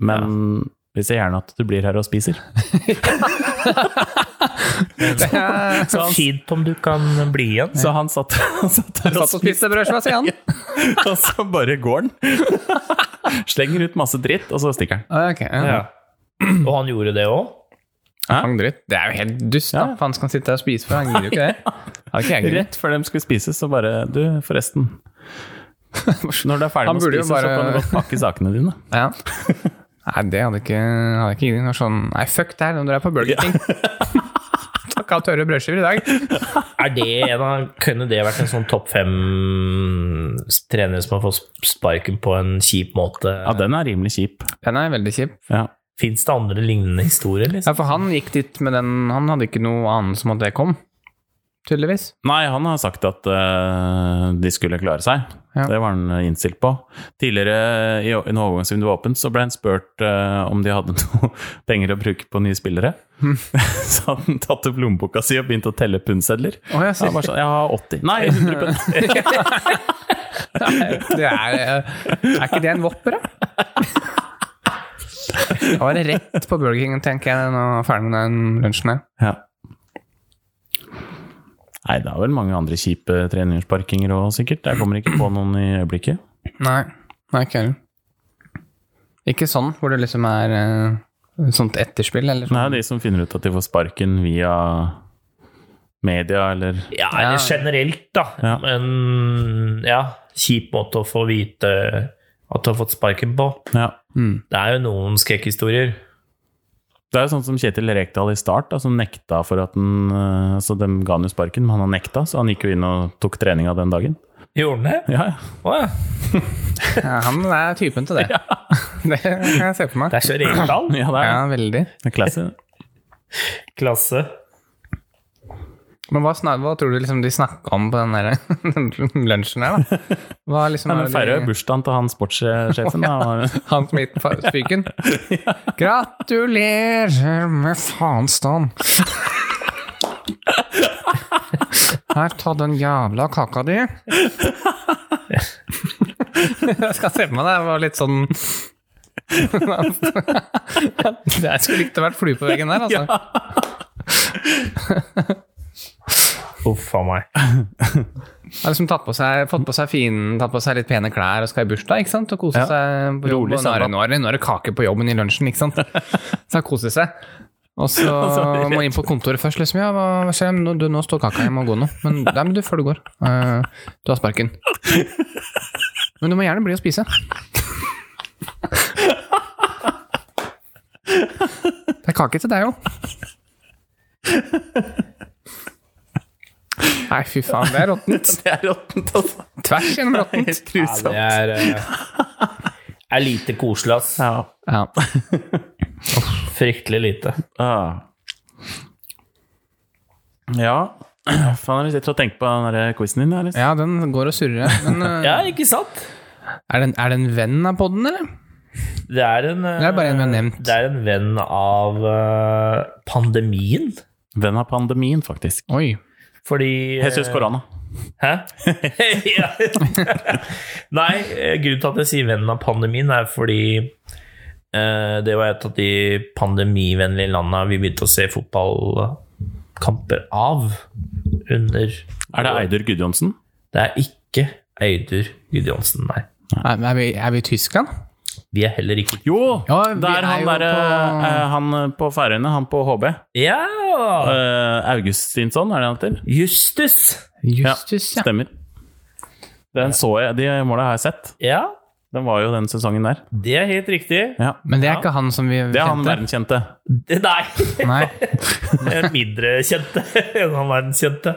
S1: Men vi ser gjerne at du blir her og spiser.
S2: Så fint om du kan bli igjen.
S1: Så han satt, han satt der og
S3: Satt og spiste brødsveis igjen.
S1: spiste, og så bare går han. Slenger ut masse dritt, og så stikker han.
S3: Å, ok, ja.
S1: Mm.
S2: Og han gjorde det òg.
S3: Fang dritt. Det er jo helt dust, da.
S1: Ja.
S3: Faen skal han sitte der og spise for? Han gidder jo ikke det. Har ikke jeg giddet.
S1: Rett før de skulle spise, så bare Du, forresten. Når du er ferdig
S3: Han
S1: med å
S3: burde jo
S1: spise, så
S3: bare-
S1: kan du godt pakke sakene dine.
S3: Ja. Nei, det hadde ikke, hadde ikke giddet. Det var Sånn, nei, fuck det her, når dere er på Burger King. Takk av tørre brødskiver i dag.
S2: Er det en av, kunne det vært en sånn topp fem-trener som har fått sparken på en kjip måte?
S1: Ja, den er rimelig kjip.
S3: Den er veldig kjip.
S1: Ja.
S2: Fins det andre lignende historier? Liksom?
S3: Ja, for han gikk dit med den Han hadde ikke noe anelse om at det kom, tydeligvis.
S1: Nei, han har sagt at eh, de skulle klare seg.
S3: Ja.
S1: Det var han eh, innstilt på. Tidligere, i, i en overgangsvindu var åpent, så ble han spurt eh, om de hadde noe penger å bruke på nye spillere.
S3: Hmm.
S1: så hadde han tatt opp lommeboka si og begynt å telle pundsedler.
S3: Å, jeg
S1: Han
S3: ser.
S1: var sånn Jeg har 80. Nei, 100 pund.
S3: Det er, eh, er ikke det en vopper, da? Da var det rett på Burger King, tenker jeg, når jeg er ferdig med den lunsjen her.
S1: ja. Nei, det er vel mange andre kjipe treningsparkinger òg, sikkert. Jeg kommer ikke på noen i øyeblikket.
S3: Nei, nei, ikke heller. Ikke sånn, hvor det liksom er eh, sånt etterspill, eller
S1: Det
S3: sånn.
S1: er jo de som finner ut at de får sparken via media, eller
S2: Ja, eller generelt, da.
S1: Ja.
S2: En ja, kjip måte å få vite at du har fått sparken på.
S1: Ja.
S2: Det er jo noen skrekkhistorier.
S1: Det er jo sånn som Kjetil Rekdal i start, da, som nekta altså, for at han eh, Så de ga han jo sparken, men han har nekta, så han gikk jo inn og tok treninga den dagen.
S2: Gjorde han det?
S1: Ja, ja.
S2: Å ja.
S3: Ja, han er typen til det. Det kan jeg se på meg.
S2: Det er så rent
S1: Ja, det er
S3: Ja, veldig.
S1: det. Classy.
S2: klasse.
S3: Men hva, snak, hva tror du liksom de snakka om på den der lunsjen her, da? Hva liksom
S1: Nei,
S3: er
S1: men
S3: det
S1: feirer
S3: de-
S1: jo bursdagen til han sportssjefen. da.
S3: Han som gikk på fyken? Gratulerer med faenstand! Her, ta den jævla kaka di. Jeg skal se på meg det. Jeg var litt sånn Jeg skulle likt å vært flue på veggen der, altså.
S2: Uff a meg.
S3: Har liksom tatt på seg, fått på seg fine, tatt på seg litt pene klær og skal i bursdag, ikke sant? Og kose
S1: Ja.
S3: seg på jobb.
S1: Rolig
S3: Og nå, er det,
S1: søndag.
S3: nå, er det, nå er det kake på jobben i lunsjen, ikke sant? Så jeg koser seg. Og så
S1: så-
S3: må jeg inn på kontoret først, liksom. Ja, hva hva skjer? Nå, du, nå står kaka, jeg må gå nå. Men, nei, men du, før du går. Eh, du har sparken. Men du må gjerne bli og spise. Det er kake til deg òg. Nei, fy faen, det er råttent.
S1: Det er råttent, altså.
S3: Tvers gjennom råttent.
S1: Helt grusomt.
S2: Det er, eh, er lite koselig, ass.
S1: Ja.
S3: Ja.
S2: Fryktelig lite.
S1: Ah. ja. Faen, jeg sitter og tenker på den der quizen din. her, Liksom.
S3: ja, den går og surrer. Men eh,
S2: Ja, ikke sant?
S3: er, det en, er det en venn av podden, eller?
S2: Det er en eh,
S3: Det er bare en vi har nevnt.
S2: Det er en venn av eh, pandemien.
S1: Venn av pandemien, faktisk.
S3: Oi.
S2: Fordi eh,
S1: Jeg syns korona.
S2: Hæ? Ja. Nei, eh, grunnen til at jeg sier vennen av pandemien, er fordi eh, det var et av de pandemivennlige landa vi begynte å se fotballkamper av under
S1: Er det Eidur Gudjonsen?
S2: Det er ikke Eidur Gudjonsen, nei.
S3: Er, er, vi, er vi i Tyskland?
S2: Vi er heller ikke
S1: Jo!
S3: Ja, vi
S1: det er,
S3: er
S1: han
S3: jo
S1: derre
S3: på-
S1: eh, Han eh, på Færøyene, han på HB.
S2: Ja!
S1: Eh, Augustinsson, er det han heter?
S2: Justus!
S3: Justus, ja.
S1: Stemmer. Den så jeg, De måla har jeg sett.
S2: Ja,
S1: Den var jo den sesongen der.
S2: det er helt riktig.
S1: Ja.
S3: Men det er ikke han som vi
S1: Det er han
S3: kjente.
S1: verdenskjente.
S2: Det- Nei,
S3: Nei.
S2: Eh, mindre kjente enn han verdenskjente.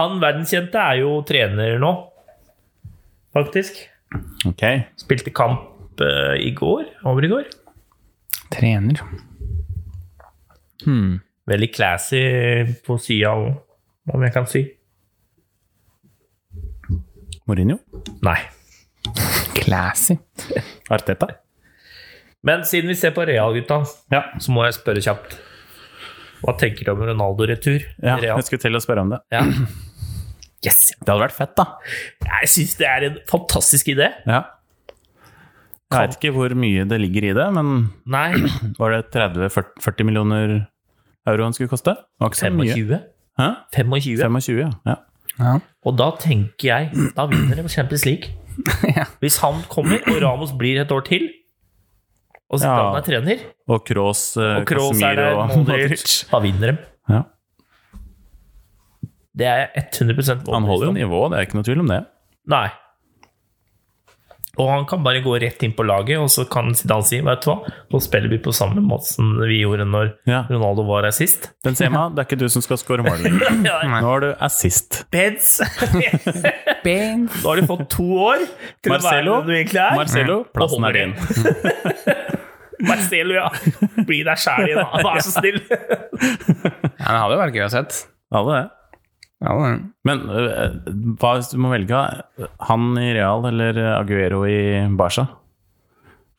S2: Han verdenskjente er jo trener nå, faktisk.
S1: Ok.
S2: Spilte kamp eh, i går, over i går.
S3: Trener. Hmm.
S2: Veldig classy på sida òg, om jeg kan si.
S1: Mourinho?
S2: Nei.
S3: Classy.
S1: Arteta?
S2: Men siden vi ser på Real, gutta,
S1: Ja.
S2: så må jeg spørre kjapt. Hva tenker du om Ronaldo-retur?
S1: ja.
S2: Real?
S1: Jeg skulle til å spørre om det.
S2: Ja. Yes!
S1: Det hadde vært fett, da.
S2: Jeg syns det er en fantastisk idé.
S1: Ja. Jeg veit ikke hvor mye det ligger i det, men
S2: Nei,
S1: var det 30-40 millioner euro han skulle koste? Det var ikke så mye.
S2: 25.
S1: Hæ?
S2: 25.
S1: 25, ja. ja.
S3: Ja.
S2: Og da tenker jeg Da vinner de Champions League.
S3: Ja.
S2: Hvis han kommer, og Ramos blir et år til, og Zidane
S1: Ja.
S2: er trener,
S1: Og Kroos, eh,
S2: og Kroos er der,
S1: Casemiro og
S2: Modric Da vinner de.
S1: Ja.
S2: Det er jeg 100
S1: Han holder jo
S2: overbevist om.
S1: nivået, det er ikke noe tvil om det.
S2: Nei. Og han kan bare gå rett inn på laget, og så kan Zidane si Vet du hva, nå spiller vi på samme måte som vi gjorde når
S1: Ja.
S2: Ronaldo var her sist.
S1: Benzema, det er ikke du som skal score mål lenger.
S2: Ja,
S1: Nå har du assist.
S2: Benz.
S3: Ben.
S2: Nå har du fått to år til
S1: Marcelo?
S2: å være den du egentlig er.
S1: Marcelo, plassen
S2: Og
S1: er din.
S2: Holmgren. Marcelo, ja. Bli deg sjæl igjen, da. Vær så snill.
S3: Ja, det hadde jo vært gøy å sett.
S1: Alle det.
S3: Ja, det.
S1: Men øh, hva hvis du må velge? eh, Han i Real eller Aguero i Barca?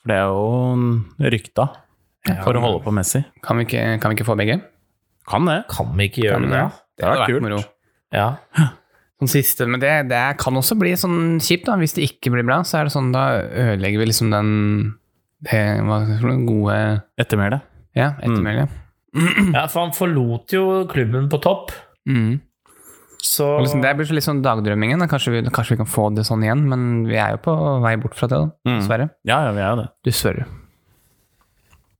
S1: For det er jo rykta for å holde på Messi.
S3: Kan, vi ikke, kan vi ikke få begge?
S1: Kan det.
S2: Kan vi ikke gjøre det?
S1: Det hadde vært kult.
S3: moro.
S2: Ja.
S3: Sånn siste, men det, det kan også bli sånn kjipt, da. Hvis det ikke blir bra, så er det sånn, da ødelegger vi liksom den det, hva, skal jeg si, den gode
S1: Ettermæle.
S3: Ja,
S1: Mm.
S3: ettermælet.
S2: ja, for han forlot jo klubben på topp,
S3: Mm.
S2: så
S3: Og liksom, det blir så litt sånn dagdrømmingen. Da. Kanskje, vi, kanskje vi kan få det sånn igjen, men vi er jo på vei bort fra det, da.
S1: Mm.
S3: dessverre.
S1: Ja, ja, vi er jo det.
S3: Dessverre.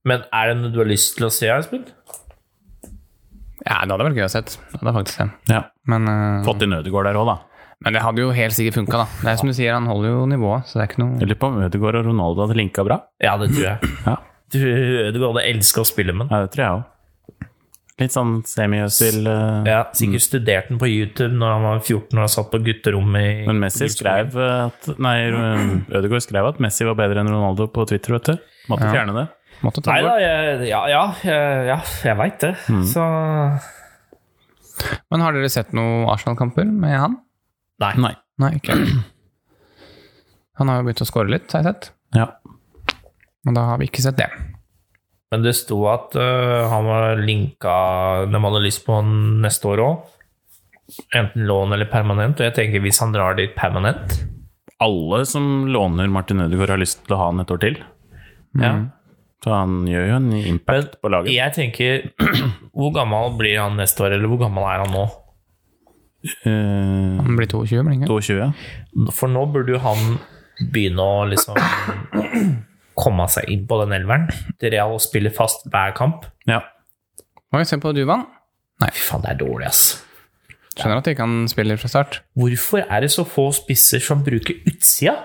S2: Men er det noe du har lyst til å se, Espen?
S3: Ja, det hadde vært gøy å sett. Det hadde faktisk det.
S1: Ja.
S3: Men, eh,
S1: Fått inn Ødegaard der òg, da.
S3: men det hadde jo helt sikkert funka, da. Det er som du sier, han holder jo nivået, så det er ikke noe
S1: Jeg lurer på om Ødegaard og Ronaldo hadde linka bra.
S2: Ja, det tror jeg.
S1: Ja,
S2: Du, du hadde elska å spille med han.
S1: ja, det tror jeg òg. Litt sånn semi-Øzil. eh,
S2: Ja, sikkert studerte han på YouTube når han var 14 og satt på gutterommet i
S1: Men Messi skrev eh, at Nei, Ødegaard skrev at Messi var bedre enn Ronaldo på Twitter, vet du. Måtte fjerne det.
S3: Måtte ta
S2: Nei
S3: det
S2: da,
S3: bort.
S2: jeg, ja, ja, jeg- ja, jeg veit det. Så
S3: Men har dere sett noen Arsenal-kamper med han?
S2: Nei.
S1: Nei.
S3: Nei, ikke Han har jo begynt å score litt, har jeg sett.
S1: Ja.
S3: Men da har vi ikke sett det.
S2: Men det sto at øh, han var linka De hadde lyst på han neste år òg. Enten lån eller permanent. Og jeg tenker hvis han drar dit permanent
S1: Alle som låner Martin Ødegaard, har lyst til å ha han et år til.
S2: ja.
S1: Så han gjør jo en impact på laget.
S2: Jeg tenker Hvor gammel blir han neste år, eller hvor gammel er han nå?
S1: Eh,
S3: Han blir 22, blir han ikke?
S1: 22.
S2: For nå burde jo han begynne å liksom komme seg inn på den elveren. Det er å spille fast hver kamp.
S1: Ja.
S3: Oi, se på Duvan.
S2: Fy faen, det er dårlig, ass.
S3: Skjønner at ikke han spiller fra start.
S2: Hvorfor er det så få spisser som bruker utsida?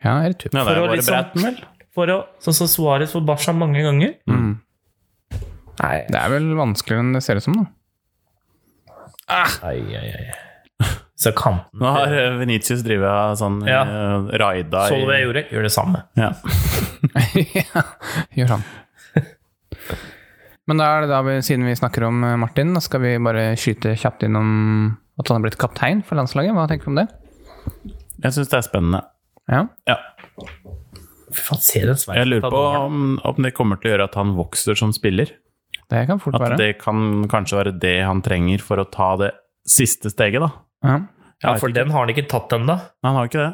S3: Ja, er det tur.
S1: ja, det
S2: For
S1: er
S2: å
S1: jo bare
S2: liksom-
S1: Breiten, vel?
S2: For å, sånn som Suárez for Barca mange ganger. Nei,
S3: Det er vel vanskeligere enn det ser ut som, da.
S2: ai, ai, ai. Så kanten
S1: Nå har eh, Venitius drevet sånn
S2: Ja.
S1: ja. raida
S2: Så du hva jeg gjorde? Gjør det samme.
S1: Ja.
S3: ja, gjør han. Men da er det da vi, siden vi snakker om eh, Martin, da skal vi bare skyte kjapt innom at han har blitt kaptein for landslaget. Hva tenker du om det?
S1: Jeg syns det er spennende.
S3: Ja.
S1: Ja.
S2: Fy faen, se den sveisen
S1: Jeg lurer
S2: på
S1: på
S2: dommeren.
S1: om, om det kommer til å gjøre at han vokser som spiller.
S3: Det kan fort
S1: At
S3: være.
S1: det kan kanskje være det han trenger for å ta det siste steget, da.
S3: Ja.
S2: Ja, for den har han ikke tatt ennå.
S1: Men han har jo ikke det.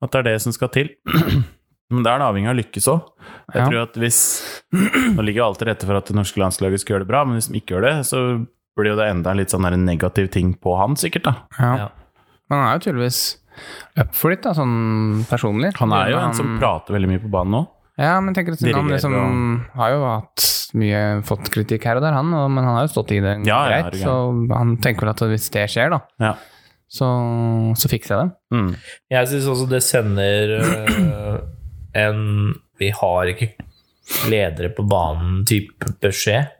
S1: At det er det som skal til. Men da er det avhengig av lykkes òg. Jeg
S3: Ja.
S1: tror at hvis Nå ligger jo alt til rette for at det norske landslaget skal gjøre det bra, men hvis de ikke gjør det, så blir jo det enda en litt sånn der negativ ting på han, sikkert. da.
S3: Ja.
S2: Ja.
S3: Men han er jo tydeligvis up for it, da, sånn personlig.
S1: Han er jo en som prater veldig mye på banen nå.
S3: Ja, men tenker at siden han
S1: Dirigerer
S3: liksom har jo hatt mye fått kritikk her og der, han, og, men han har jo stått i det
S1: Ja, ja, er
S3: greit.
S1: det
S3: Så han tenker vel at hvis det skjer, da,
S1: Ja.
S3: så, så fikser jeg det.
S1: Mm.
S2: Jeg syns også det sender øh, en Vi har ikke ledere på banen-type beskjed.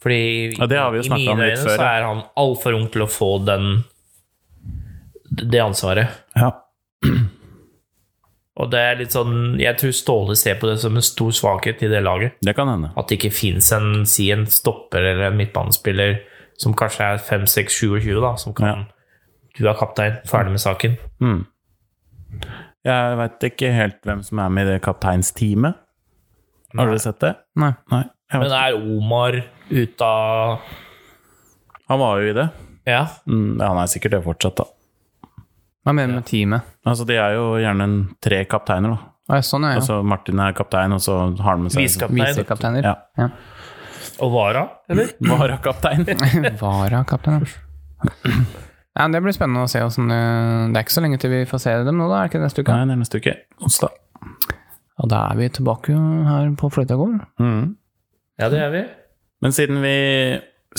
S2: Fordi
S1: Ja, det har vi jo
S2: i
S1: snakket
S2: mine
S1: om litt
S2: øyne
S1: før,
S2: så
S1: ja.
S2: er han altfor ung til å få den det ansvaret.
S1: Ja.
S2: Og det er litt sånn Jeg tror Ståle ser på det som en stor svakhet i det laget.
S1: Det kan hende.
S2: At det ikke fins en, si en stopper eller en midtbanespiller som kanskje er 5-6-27, da, som kan Du er kaptein, ferdig med saken.
S1: Mm. Jeg veit ikke helt hvem som er med i det kapteinsteamet. Har dere sett det?
S3: Nei.
S1: Nei. Jeg
S2: Men
S1: vet.
S2: er Omar ute av
S1: ikke. Han var jo i det.
S2: Ja.
S1: Mm, ja, han er sikkert det fortsatt, da.
S3: Hva mener du med teamet?
S1: Altså, De er jo gjerne en tre kapteiner, da.
S3: Å, ja, sånn, ja. ja.
S1: Altså Martin er kaptein, og så har han med seg
S2: Visekaptein
S3: Visekapteiner.
S1: Ja.
S3: Ja.
S2: og Vara, eller?
S1: Varakaptein.
S3: Varakaptein, ja. Ja, men det blir spennende å se åssen det Det er ikke så lenge til vi får se dem nå, da? Er det ikke neste uke?
S1: Nei, det er neste uke. Onsdag.
S3: Og da er vi tilbake her på Fløyta gård.
S1: Mm.
S2: Ja, det er vi.
S1: Men siden vi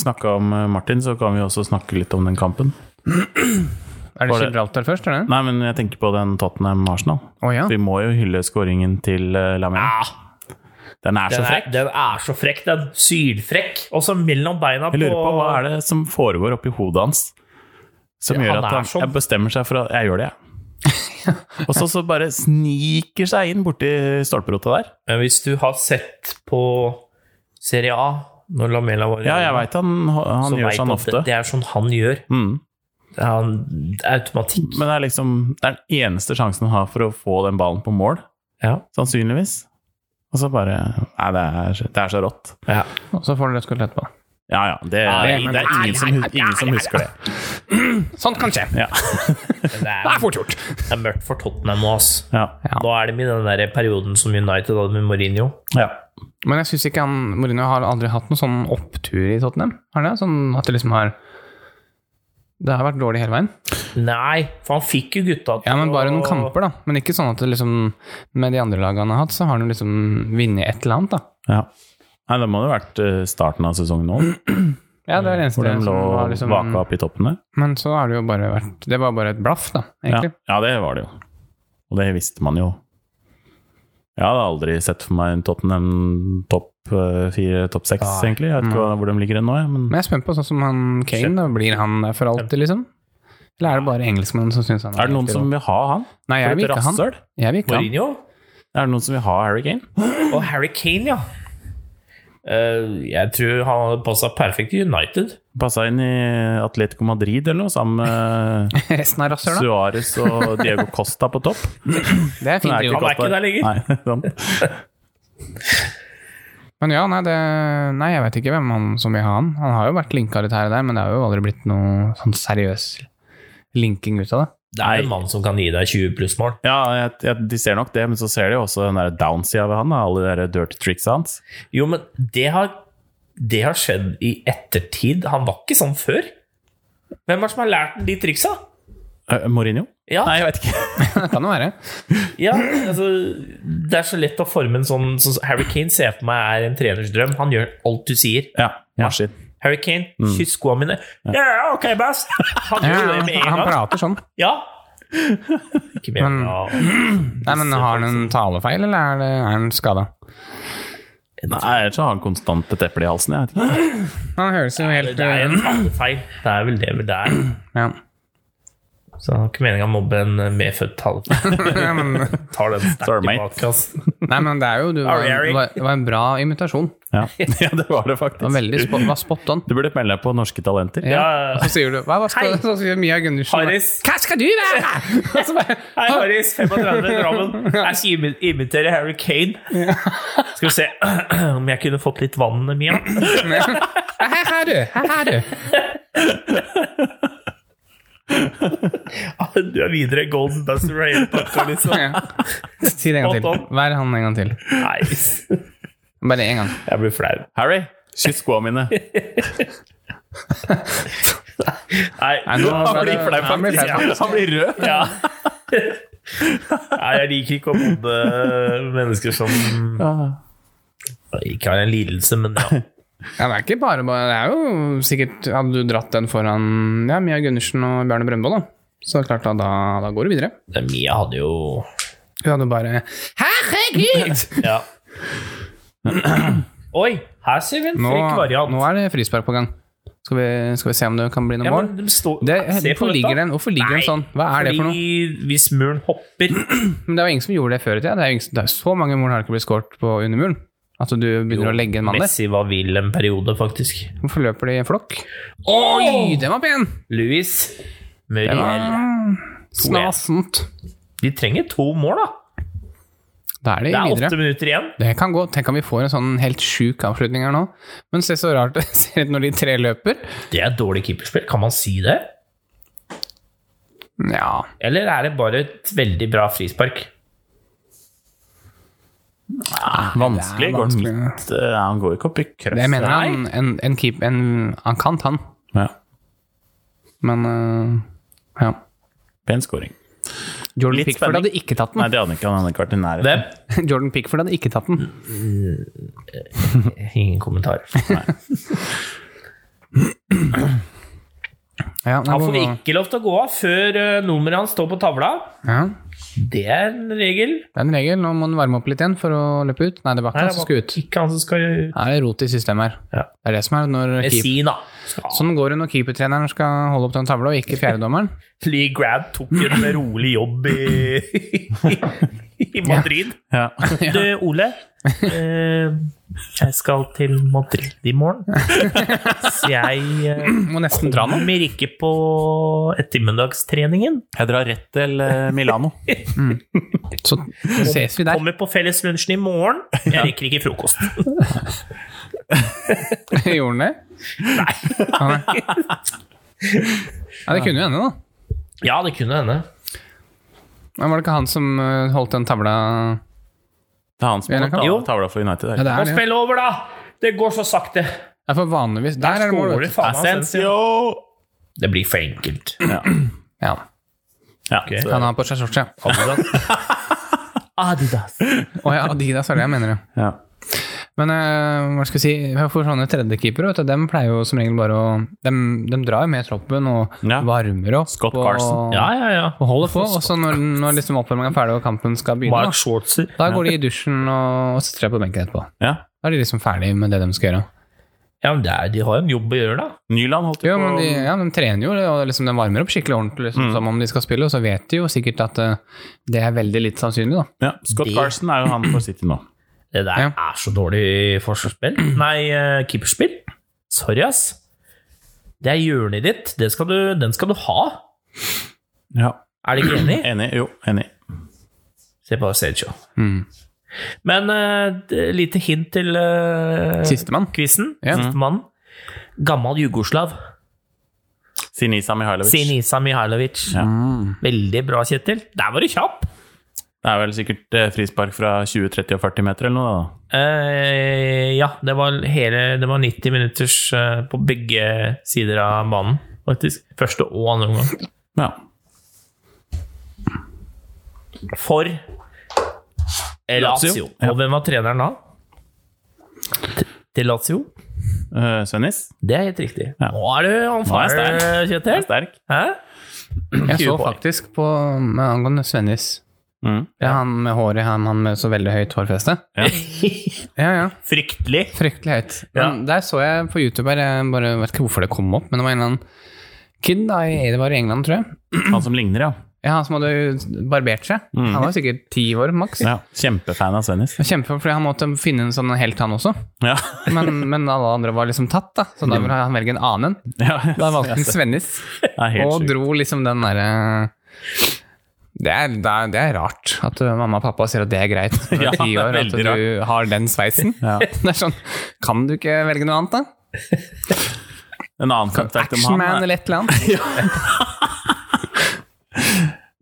S1: snakka om eh, Martin, så kan vi også snakke litt om den kampen.
S3: Er det
S1: Var det-
S3: Gibraltar først, eller?
S1: Nei, men jeg tenker på den Tottenham-Arsenal.
S3: Å ja.
S1: Vi må jo hylle skåringen til eh, Lamine.
S2: Ja,
S1: Den er så
S2: den,
S1: frekk.
S2: er, den er så frekk, den. Sylfrekk. Og så mellom beina
S1: Jeg lurer på hva er det som foregår oppi hodet hans som
S2: Ja,
S1: gjør
S2: han
S1: at
S2: er
S1: han
S2: sånn.
S1: jeg bestemmer seg for at jeg gjør det, jeg. Og så, så bare sniker seg inn borti stolperota der.
S2: Men hvis du har sett på Serie A når Lamela var i
S1: Ja, jeg
S2: Roma,
S1: veit han, han
S2: så
S1: gjør
S2: vet
S1: sånn
S2: du at
S1: ofte.
S2: Det, det er sånn han gjør.
S1: Mm.
S2: Det er han, det er automatikk.
S1: Men det er liksom det er den eneste sjansen han har for å få den ballen på mål,
S2: Ja.
S1: sannsynligvis. Og så bare Nei, det er, det er så rått.
S2: Ja.
S3: Og så får dere skudd etterpå.
S1: Ja ja, det,
S2: Nei,
S1: det,
S2: men-
S1: er ingen som, hus- ingen som husker det.
S3: Sånt kan skje.
S1: Ja.
S2: Men Det, er,
S3: fort gjort.
S2: det er mørkt for Tottenham nå, ass.
S1: ja.
S2: Nå er de i den der perioden som United hadde med Mourinho.
S1: ja.
S3: Men jeg syns ikke han Mourinho har aldri hatt noen sånn opptur i Tottenham. Har det? Sånn at det liksom har Det har vært dårlig hele veien.
S2: Nei, for han fikk jo gutta til
S3: Ja, men bare
S2: å-
S3: noen kamper, da. Men ikke sånn at det liksom Med de andre lagene han har hatt, så har han jo liksom vunnet et eller annet, da.
S1: ja. Nei, det må det ha vært eh, starten av sesongen nå,
S3: Ja, det er det eneste
S1: hvor de
S3: som
S1: lå
S3: var
S1: og
S3: liksom,
S1: vaka opp i toppen der.
S3: Men så har det jo bare vært Det var bare et blaff, da,
S1: Ja,
S3: egentlig.
S1: ja, det var det jo. Og det visste man jo. Jeg hadde aldri sett for meg en Tottenham topp topp eh, fire, topp seks, egentlig. Jeg vet ikke hva- hvor de ligger ennå, jeg, men
S3: Men jeg er spent på sånn som han Kane. Da, blir han der for alltid, liksom? Eller er det bare engelskmenn som syns han
S1: er det noen
S3: helt
S1: som
S3: rå?
S1: vil ha han?
S3: Nei, jeg
S1: For
S3: vil
S1: et
S3: ikke han.
S1: rasshøl?
S3: Jeg vil ikke han.
S2: Mourinho
S1: Er det noen som vil ha Harry Kane?
S2: og Harry Kane, ja. Eh, jeg tror han hadde passa perfekt i United.
S1: Passa inn i Atletico Madrid eller noe, sammen med
S3: Resten av rasshøl, da.
S1: Suárez og Diego Costa på topp.
S3: Det
S1: Men
S3: er fint
S1: det
S3: trio.
S2: Han er ikke
S1: Costa-
S2: der lenger.
S1: Nei, sant.
S3: Men ja, nei, det, nei, jeg vet ikke hvem han som vil ha han. Han har jo vært linka litt her og der, men det har jo aldri blitt noe sånn seriøs linking ut av det.
S2: Det er en mann som kan gi deg 20 plussmål.
S1: ja, jeg, jeg, de ser nok det, men så ser de jo også den der downsida ved han. da, Alle de der dirty tricksa hans.
S2: Jo, men det har, det har skjedd i ettertid. Han var ikke sånn før. Hvem er det som har lært ham de triksa?
S1: Eh, Mourinho?
S2: Ja,
S1: Nei, jeg vet ikke.
S3: Det kan jo være.
S2: ja altså, Det er så lett å forme en sånn, sånn som Harry Kane ser jeg for meg er en treners drøm. Han gjør alt du sier.
S1: Ja, maskin.
S2: Harry Kane, kyss skoene mine. Ja, ja, ok, bass! Han
S3: Mm. Ja,
S2: gjør det med en
S3: han
S2: gang.
S3: prater sånn.
S2: Ja. Ikke mer
S3: Men-
S2: bra.
S3: Nei, men Har han en talefeil, eller er, det, er han skada?
S1: Nei, ellers så har han konstant et eple i halsen. Jeg vet ikke.
S3: Han høres jo helt
S2: Det er en talefeil. Det er vel det vel det er.
S3: ja.
S2: Så det har ikke meninga å mobbe en eh, medfødt talefeil.
S3: Ja, men,
S2: Tar den sterkt
S1: Sorry, mate.
S2: tilbake, altså.
S3: Nei, men det er jo du, var,
S2: Harry.
S3: det var- det var en bra invitasjon. Det
S1: Ja. ja, det var det
S3: var veldig
S1: faktisk.
S3: spot, var spot on.
S1: Du burde melde deg på Norske Talenter.
S2: Ja.
S3: Og så sier du hva, hva skal,
S2: Hei.
S3: Så sier Mia Gundersen
S2: Harris.
S3: Hva skal du være?! Og så bare,
S2: Hei, Harris. 35 Drammen. Jeg skal imi- imitere Harry Kane. Skal vi se om jeg kunne fått litt vann, Mia.
S3: her er du! Her er du!
S2: Du er videre Golden Buzzer Railbucker, liksom.
S3: Ja. Si det en gang
S2: Spot
S3: til. Vær han en gang til.
S2: Nice.
S3: Bare en gang.
S2: Jeg blir flau.
S1: Harry, kyss skoa mine.
S2: Nei,
S3: Nei, nå
S2: han
S3: ble
S2: blir
S3: det-
S2: flau,
S3: han blir flau,
S2: faktisk.
S1: Han blir rød.
S2: Ja. Nei, jeg liker ikke å mobbe mennesker som ikke har en lidelse, men ja.
S3: Ja, det er ikke bare bare Det er jo sikkert Hadde du dratt den foran ja, Mia Gundersen og Bjarne Brøndbo, da, så klart da, da, da går du videre.
S2: Mia hadde jo
S3: Hun hadde jo bare Herregud!
S2: Ja. Oi, her ser vi en
S3: Nå,
S2: frekk variant.
S3: nå er det frispark på gang. Skal vi, skal vi se om det kan bli noe
S2: Ja,
S3: mål?
S2: men de står-
S3: Det,
S2: Se på
S3: hvorfor, ligger
S2: dette.
S3: den, hvorfor ligger den
S2: Nei,
S3: sånn? Hva er det for noe?
S2: Fordi hvis muren hopper
S3: Men det var ingen som gjorde det før i tida. Det er, jo ingen, som- det er så mange mål har ikke blitt skåret på undermuren. At du begynner å legge en mann der.
S2: Messi var vill en periode, faktisk.
S3: Hvorfor løper de i flokk? Oi, den var pen! Ah,
S2: Louis Muriel.
S3: Snasent.
S2: De trenger to mål, da.
S3: Da er de
S2: Det er
S3: videre.
S2: åtte minutter igjen.
S3: Det kan gå. Tenk om vi får en sånn helt sjuk avslutning her nå. Men se så rart det ser ut når de tre løper.
S2: Det er dårlig keeperspill. Kan man si det?
S3: Ja
S2: Eller er det bare et veldig bra frispark?
S1: Vanskelig.
S3: Det er
S1: Går den
S3: vanskelig.
S1: midt? Eh, Han går ikke opp i krøss.
S3: Det mener han. En, en keep, en, han kan ta den,
S1: Ja.
S3: men øh, ja.
S1: Pen scoring.
S3: Jordan
S1: Litt
S3: Pickford
S1: spenning.
S3: hadde ikke tatt
S1: Nei,
S3: den.
S1: det hadde han ikke. Han hadde ikke vært i nærheten.
S2: Hvem?
S3: Jordan Pickford hadde ikke tatt den.
S2: Ingen kommentar.
S3: Ja, nei,
S2: Han får
S3: hvor-
S2: ikke lov til å gå av før eh, nummeret hans står på tavla.
S3: ja.
S2: Det er en regel.
S3: Det er en regel. Nå må han varme opp litt igjen for å løpe ut. Nei, det var ikke
S2: Nei,
S3: han som skulle ut.
S2: det var Ikke han som skal ut.
S3: Nei, det er rot i systemet her.
S2: Ja.
S3: Det er det som er når keep...
S2: Messi, da.
S3: Sånn går det når keepertreneren skal holde opp den tavla, og ikke fjerdedommeren.
S2: Lee Grant tok en rolig jobb i, i Madrid.
S1: Ja.
S2: Du, Ole. eh, jeg skal til Madrid i morgen. Så jeg eh,
S3: Må nesten dra nå.
S2: kommer ikke på ettermiddagstreningen.
S1: Jeg drar rett til eh, Milano.
S3: Så ses vi der.
S2: Kommer på felleslunsjen i morgen. Jeg rekker ikke frokost.
S3: Gjorde han det? Nei. Ja, det kunne jo hende, da.
S2: Ja, det kunne hende.
S3: Men var det ikke han som øh, holdt den tavla
S1: Det er han som
S3: Ja,
S1: har
S3: det kan-
S2: Jo.
S1: ta- tavla for United.
S3: Ja,
S1: Der.
S3: det
S2: Må
S3: er det.
S2: spille over, da! Det går så sakte.
S3: Ja, for vanligvis Der er det mål,
S2: Skåler
S3: vet du.
S2: faen meg,
S1: Asensio!
S2: Det blir for enkelt.
S1: Ja.
S3: Ja.
S1: Ja,
S2: Ok.
S1: så-
S3: Han har på seg shorts, ja.
S2: Adidas. Adidas.
S3: Å ja, Adidas er det jeg mener, ja.
S1: ja.
S3: Men eh, hva skal jeg si, for sånne tredjekeepere, vet du, dem pleier jo som regel bare å De, drar jo med troppen og
S1: Ja.
S3: varmer opp.
S1: Scott
S3: og,
S1: Carson.
S2: Ja, ja, ja.
S3: Og holder på. Og så når, når liksom oppvarmingen er ferdig og kampen skal begynne,
S2: Mark
S3: da,
S2: Schwartzer.
S3: da går de i dusjen og, og strer på benken etterpå.
S1: ja.
S3: Da er de liksom ferdig med det de skal gjøre.
S2: Ja, men det er, de har jo en jobb å gjøre, da.
S1: Nyland holdt jo
S3: Jo,
S1: på
S3: men de, ja, de trener jo, og liksom, de varmer opp skikkelig ordentlig
S1: Mm.
S3: liksom, som om de skal spille, og så vet de jo sikkert at eh, det er veldig litt sannsynlig, da.
S1: ja, Scott
S2: de-
S1: Carson er jo han for City nå.
S2: Det der
S3: Ja.
S2: er så dårlig forsvarsspill. Nei, eh, keeperspill. Sorry, ass. Det er hjørnet ditt. Det skal du, den skal du ha.
S1: Ja.
S2: Er du ikke enig?
S1: Enig? Jo, enig.
S2: Se på Sergio.
S3: Mm.
S2: Men eh, det- lite hint til uh,
S3: Sistemann.
S2: quizen.
S3: Ja.
S2: Sistemann. Gammel jugoslav.
S1: Sinisa Mihailovic.
S2: Sinisa Mihailovic.
S1: Ja.
S2: Veldig bra, Kjetil. Der var du kjapp!
S1: Det er vel sikkert eh, frispark fra 20, 30 og 40 meter eller noe, da.
S2: Eh, ja, det var, hele, det var 90 minutters eh, på begge sider av banen, faktisk. Første og andre omgang.
S1: Ja.
S2: for Lazio.
S1: Lazio, ja.
S2: Og hvem var treneren da? T- Til Lazio?
S1: Eh, Svennis?
S2: Det er helt riktig.
S1: Ja.
S2: Nå er du on
S1: Nå er jeg
S2: fire,
S1: Er
S2: Kjetil.
S1: sterk.
S2: Hæ?
S3: Jeg
S2: 20
S3: så
S2: poeng.
S3: faktisk på med angående Svennis.
S1: Mm.
S3: Det er han med håret, han, han med så veldig høyt hårfeste. Ja, ja.
S2: Fryktelig.
S3: Fryktelig høyt. Men der så jeg på YouTube her, jeg bare vet ikke hvorfor det kom opp, men det var en eller annen kid da, i, det var i England, tror jeg.
S1: Han som ligner, ja.
S3: Ja, han som hadde barbert seg. Han var sikkert ti år, maks.
S1: ja. Kjempefan av Svennis.
S3: Kjempe, fordi han måtte finne en sånn helt, han også.
S1: Ja.
S3: Men, men alle andre var liksom tatt, da. Så da ville han velge en annen.
S1: ja.
S3: Da valgte han Svennis,
S1: Det er helt
S3: og
S1: sjukt.
S3: dro liksom den derre det er, det, er, det er rart at uh, mamma og pappa sier at det er greit når du
S1: Ja,
S3: er ti år,
S1: det er
S3: at
S1: veldig
S3: du har den sveisen.
S1: Ja.
S3: Det er sånn, Kan du ikke velge noe annet, da?
S1: En annen fun fact om han eh,
S3: Actionman
S1: er-
S3: eller et eller annet?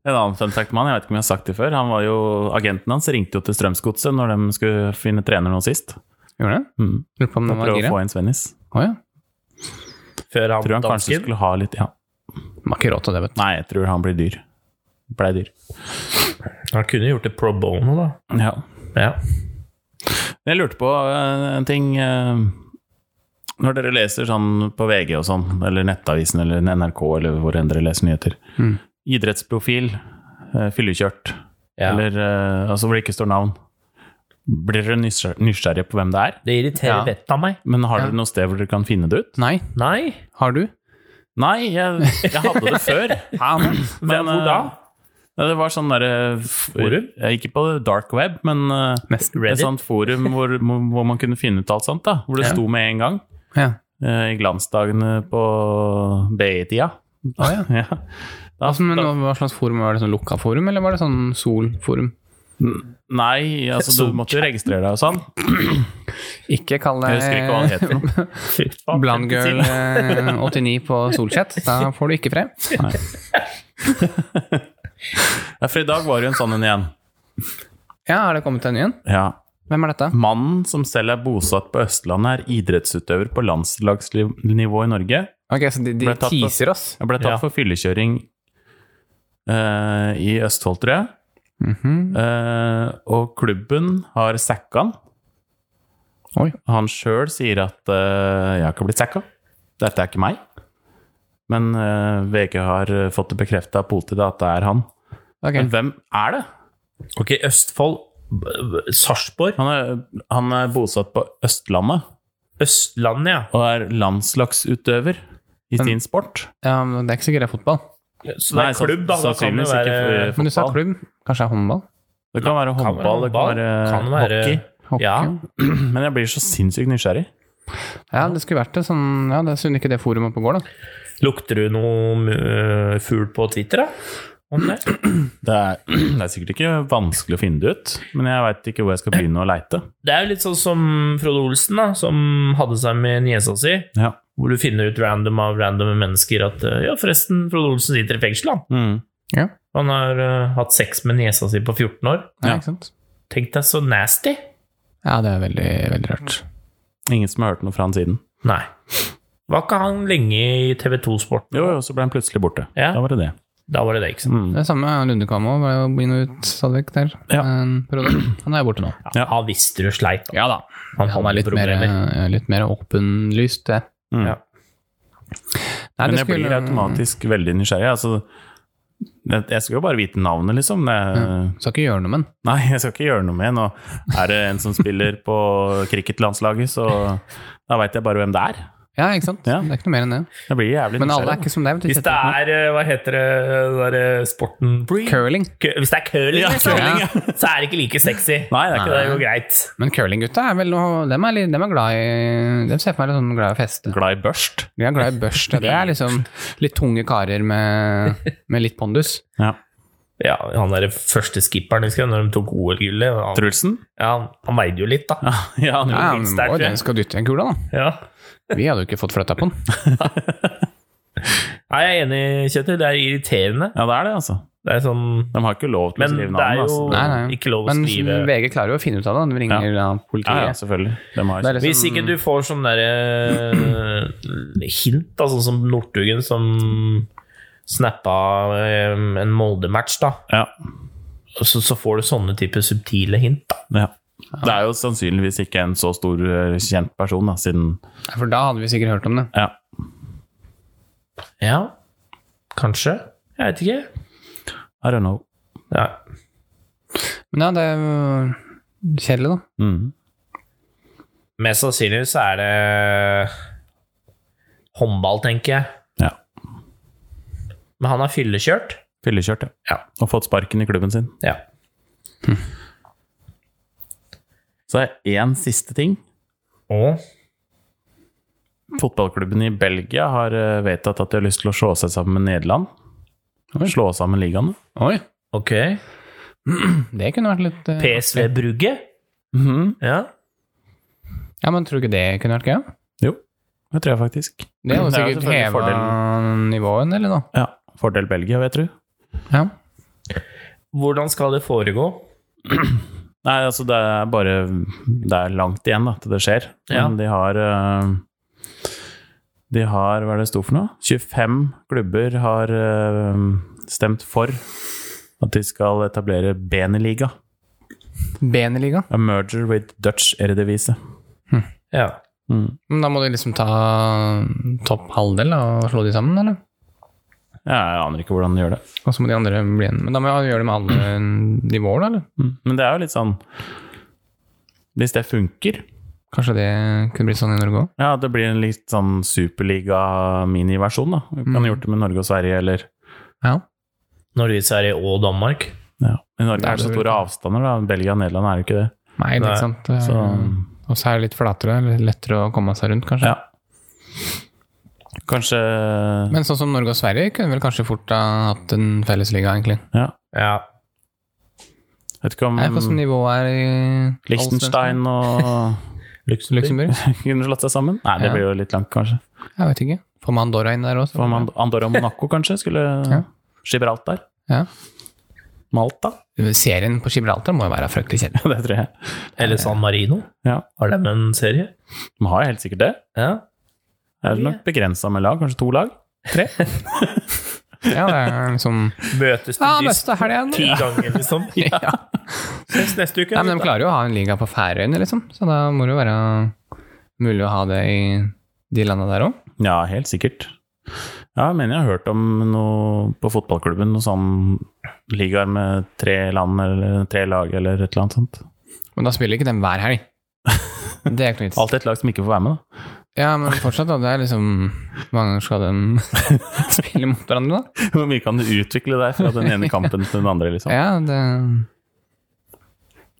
S1: En annen fun fact om han, jeg vet ikke om jeg har sagt det før, han var jo, agenten hans ringte jo til Strømsgodset når de skulle finne trener nå sist.
S3: Gjorde det?
S1: Mm.
S3: Lurer på om den var
S1: Prøve å
S3: gira.
S1: få inn Svennis.
S3: Å ja.
S2: Før han,
S1: Tror han kanskje
S2: dansken.
S1: skulle ha litt ja.
S3: De har ikke råd til det, vet du.
S1: Nei, jeg tror han blir dyr. Blei dyr.
S2: Han kunne gjort det pro bono, da.
S1: Ja.
S2: Ja.
S1: Men Jeg lurte på eh, en ting eh, Når dere leser sånn på VG og sånn, eller Nettavisen eller NRK, eller hvor enn dere leser nyheter
S3: Mm.
S1: Idrettsprofil, eh, fyllekjørt,
S2: Ja.
S1: eller eh, altså hvor det ikke står navn. Blir dere nysgjer- nysgjerrige på hvem det er?
S2: Det irriterer
S3: Ja.
S2: vettet av meg.
S1: Men har dere noe sted hvor dere kan finne det ut?
S3: Nei.
S2: Nei.
S3: Har du?
S1: Nei, jeg, jeg hadde det før. Men,
S2: hvor da?
S1: eh, ja, Det var sånn derre
S2: Forum?
S1: Ikke på dark web, men eh,
S3: Nesten.
S1: et
S2: Reddit?
S1: sånt forum hvor, hvor man kunne finne ut alt sånt. da Hvor det
S2: Ja.
S1: sto med en gang.
S3: Ja.
S1: eh, I glansdagene på BI-tida.
S3: Å, ja.
S1: Ja. Da,
S3: Altså, men
S1: da,
S3: hva slags forum? Var det sånn lukka forum, eller var det sånn solforum?
S1: nei, altså du måtte jo registrere deg og sånn.
S3: Ikke kall
S1: Jeg husker ikke hva han
S3: det
S1: het for noe.
S3: Blandgirl eh, 89 på Solchat. Da får du ikke frem.
S1: Ja, for i dag var det jo en sånn en igjen.
S3: Ja, har det kommet en ny en?
S1: Ja.
S3: Hvem er dette?
S1: Mannen som selv er bosatt på Østlandet, er idrettsutøver på landslagsnivå i Norge.
S3: Ok, så de, de
S1: Ble tatt på-
S3: teaser oss.
S1: Jeg ble tatt
S2: Ja.
S1: for fyllekjøring eh, i Østfold, tror jeg.
S3: Mhm.
S1: Eh, og klubben har sacka han.
S3: Oi.
S1: Han sjøl sier at eh, 'jeg har ikke blitt sacka'. Dette er ikke meg. Men eh, VG har eh, fått det bekrefta av politiet at det er han.
S3: Ok.
S1: Men hvem er det?
S2: Ok, Østfold. B- B- Sarpsborg.
S1: Han er, han er bosatt på Østlandet
S2: Østlandet, ja.
S1: og er landslagsutøver i sin sport.
S3: Ja, men det er ikke sikkert det er fotball.
S2: Så det
S1: Nei,
S2: er klubb, da. Da kan det
S1: sannsynligvis ikke
S2: være
S1: for-
S3: Men du sa
S1: Fotball.
S3: klubb. Kanskje det er håndball?
S1: Det kan være
S2: kan
S1: håndball, det
S2: håndball,
S1: kan være,
S2: kan være-
S1: hockey.
S3: Hockey?
S2: Ja.
S1: Men jeg blir så sinnssykt nysgjerrig.
S3: Ja, det skulle vært det. Sånn, ja, det er synd ikke det forumet oppe går, da.
S2: Lukter du noe øh, fugl på Twitter, da? Om det?
S1: Det er, det er sikkert ikke vanskelig å finne det ut, men jeg veit ikke hvor jeg skal begynne å leite.
S2: Det er jo litt sånn som Frode Olsen, da, som hadde seg med niesa si.
S1: Ja.
S2: Hvor du finner ut random av randome mennesker at øh, Ja, forresten, Frode Olsen sitter i fengsel, han.
S1: Mm.
S2: Han har øh, hatt sex med niesa si på 14 år.
S3: Ja,
S1: Ja.
S3: ikke sant?
S2: Tenk deg så nasty!
S3: Ja, det er veldig, veldig rart.
S1: Ingen som har hørt noe fra han siden.
S2: Nei. Var ikke han lenge i TV 2-sporten?
S1: Jo, jo, så ble han plutselig borte.
S2: Ja.
S1: Da var det det.
S2: Da var det det, ikke
S1: Mm,
S2: sant?
S3: Det er samme Lundekvam òg, var jo inn og ut stadig vekk der.
S1: Ja.
S3: En periode. Han er jo borte nå.
S1: Ja.
S2: Han visste du sleit.
S3: Ja da. Han,
S2: hadde
S3: er litt mer,
S1: eh,
S2: problemer.
S3: ja, litt mer åpenlyst, det.
S1: Mm.
S2: Ja.
S3: Nei,
S1: Men
S3: det
S1: jeg blir
S3: skulle-
S1: automatisk veldig nysgjerrig. Altså, Jeg jeg skal jo bare vite navnet, liksom. Det,
S3: Skal ikke gjøre noe med den.
S1: Nei, jeg skal ikke gjøre noe med Nå er det en som spiller på cricketlandslaget, så da veit jeg bare hvem det er.
S3: Ja, ikke sant?
S1: Ja.
S3: Det er ikke noe mer enn det.
S1: Jeg blir jævlig
S3: Men alle er
S1: nysgjerrig.
S3: ikke som deg. vet du,
S2: Hvis det er eh, Hva heter det den der eh, sporten Kø-
S3: Curling.
S2: Hvis det er curling,
S1: Ja,
S2: liksom,
S1: curling, ja.
S2: så er det ikke like sexy.
S1: Nei, det er ikke
S2: det
S1: det.
S2: er jo greit.
S3: Men curlinggutta er vel noe Dem er, litt- dem er glad i Dem ser for meg litt sånn glad i å feste.
S1: Glad i børst.
S3: De er glad i børste. Det er liksom litt tunge karer med, med litt pondus.
S1: Ja.
S2: Ja, Han derre første skipperen, husker jeg, når de tok OL-gullet. Han,
S1: Trulsen?
S2: ja, han veide jo litt, da.
S1: Ja, han gjorde
S3: Ja,
S1: det.
S3: men
S2: litt
S3: må
S2: sterkere.
S3: jo den skal dytte i en kula, da.
S2: Ja.
S3: Vi hadde jo ikke fått flytta på den.
S2: Nei, jeg er enig, Kjetil. Det er irriterende.
S1: ja, det er det, altså.
S2: Det er sånn
S1: De har ikke lov til å
S2: Men
S1: skrive
S2: det er
S1: navn.
S2: jo
S1: Altså.
S3: Nei, nei.
S2: ikke lov å
S3: Men
S2: skrive
S3: VG klarer jo å finne ut av det. De ringer ja.
S1: Ja,
S3: politiet.
S1: ja, selvfølgelig. De
S3: Det
S1: har
S3: er liksom-
S2: Hvis ikke du får sånn derre hint, da, sånn som Northugen som snappa eh, en Molde-match, da.
S1: ja,
S2: Så, så får du sånne type subtile hint, da.
S1: ja. Det er jo sannsynligvis ikke en så stor eh, kjent person, da, siden
S3: Ja, For da hadde vi sikkert hørt om det.
S1: Ja.
S2: Ja, kanskje. Jeg vet ikke.
S1: I don't know.
S2: Ja.
S3: Men ja, det er jo kjedelig, da.
S1: Mm.
S2: Mest sannsynlig så er det håndball, tenker jeg.
S1: Ja.
S2: Men han er fyllekjørt.
S1: Fyllekjørt, ja.
S2: Ja.
S1: Og fått sparken i klubben sin.
S2: Ja.
S1: Så er det én siste ting.
S2: Og
S1: Fotballklubben i Belgia har eh, vedtatt at de har lyst til å slå seg sammen med Nederland.
S3: Oi.
S1: Slå sammen ligaene.
S3: Oi,
S2: ok
S3: det kunne vært litt eh,
S2: PSV Brugge.
S1: Mhm.
S2: Ja.
S3: Ja, men tror du ikke det kunne vært gøy? da?
S1: Jo, det tror jeg faktisk.
S3: Det er
S1: Det er jo
S3: jo sikkert
S1: selvfølgelig
S3: heva nivået, eller noe.
S1: Ja, Fordel Belgia, vet du.
S3: Ja.
S2: Hvordan skal det foregå?
S1: Nei, altså det er bare Det er langt igjen da, til det skjer.
S2: Ja.
S1: Men de har eh, De har, hva er det det sto for noe? 25 klubber har eh, stemt for at de skal etablere Beneliga.
S3: Beneliga.
S1: A merger with Dutch Eredivisie.
S2: Ja.
S1: Mm.
S3: Men da må du liksom ta topp halvdel da, og slå de sammen, eller?
S1: Ja, jeg aner ikke hvordan de gjør det.
S3: Og så må de andre bli igjen. Men da må jeg gjøre det med alle nivåer, da, eller?
S1: Mm. Men det er jo litt sånn Hvis det funker
S3: Kanskje det kunne blitt sånn i Norge òg?
S1: Ja, det blir en litt sånn superliga-miniversjon, da. Vi kan ha gjort det med Norge og Sverige, eller
S3: Ja.
S2: Norge, Sverige og Danmark.
S1: ja. I Norge
S3: Det er
S1: er det så
S3: det
S1: store
S3: vel.
S1: avstander, da. Belgia og Nederland er jo ikke det.
S3: Nei, det er
S2: Nei,
S3: ikke sant. Det er-
S1: Så
S3: Og så er det litt flatere, litt lettere å komme seg rundt, kanskje.
S1: ja. Kanskje
S3: Men sånn som Norge og Sverige kunne vel kanskje fort ha hatt en fellesliga, egentlig.
S1: Ja.
S2: Ja.
S1: Vet ikke om
S3: Jeg vet ikke hva som nivået er i
S1: Liechtenstein og
S3: Luxembourg?
S1: kunne slått seg sammen? Nei, det
S3: Ja.
S1: blir jo litt langt, kanskje.
S3: Jeg vet ikke. Får man Andorra inn der også?
S1: Hva med Andorra og Monaco, kanskje? Skulle
S3: Ja.
S1: Gibraltar?
S3: Ja.
S1: Malta?
S3: Serien på Gibraltar må jo være fryktelig kjedelig.
S1: Det tror jeg.
S2: Eller San Marino.
S1: Ja.
S2: Har de en serie?
S1: De har jo helt sikkert det.
S2: Ja.
S1: Det er nok begrensa med lag, kanskje to lag. Tre?
S3: Ja, det er liksom
S2: Møtes
S3: Ja,
S2: til dyst
S3: neste helg
S2: ti
S3: igjen.
S2: ganger, liksom.
S3: Ja.
S2: Ses neste uke.
S3: Nei, men de klarer jo å ha en liga på Færøyene, liksom. Så da må det jo være mulig å ha det i de landa der òg.
S1: Ja, helt sikkert. Ja, jeg mener jeg har hørt om noe på fotballklubben, noe sånn ligaer med tre land eller tre lag eller et eller annet sånt.
S3: Men da spiller ikke de hver helg. Det er ikke noe vits.
S1: Alltid et lag som ikke får være med, da.
S3: Ja, men fortsatt, da. Det er liksom Hvor mange ganger skal de spille mot hverandre, da?
S1: Hvor mye kan du utvikle deg fra den ene kampen til den andre, liksom?
S3: Ja, det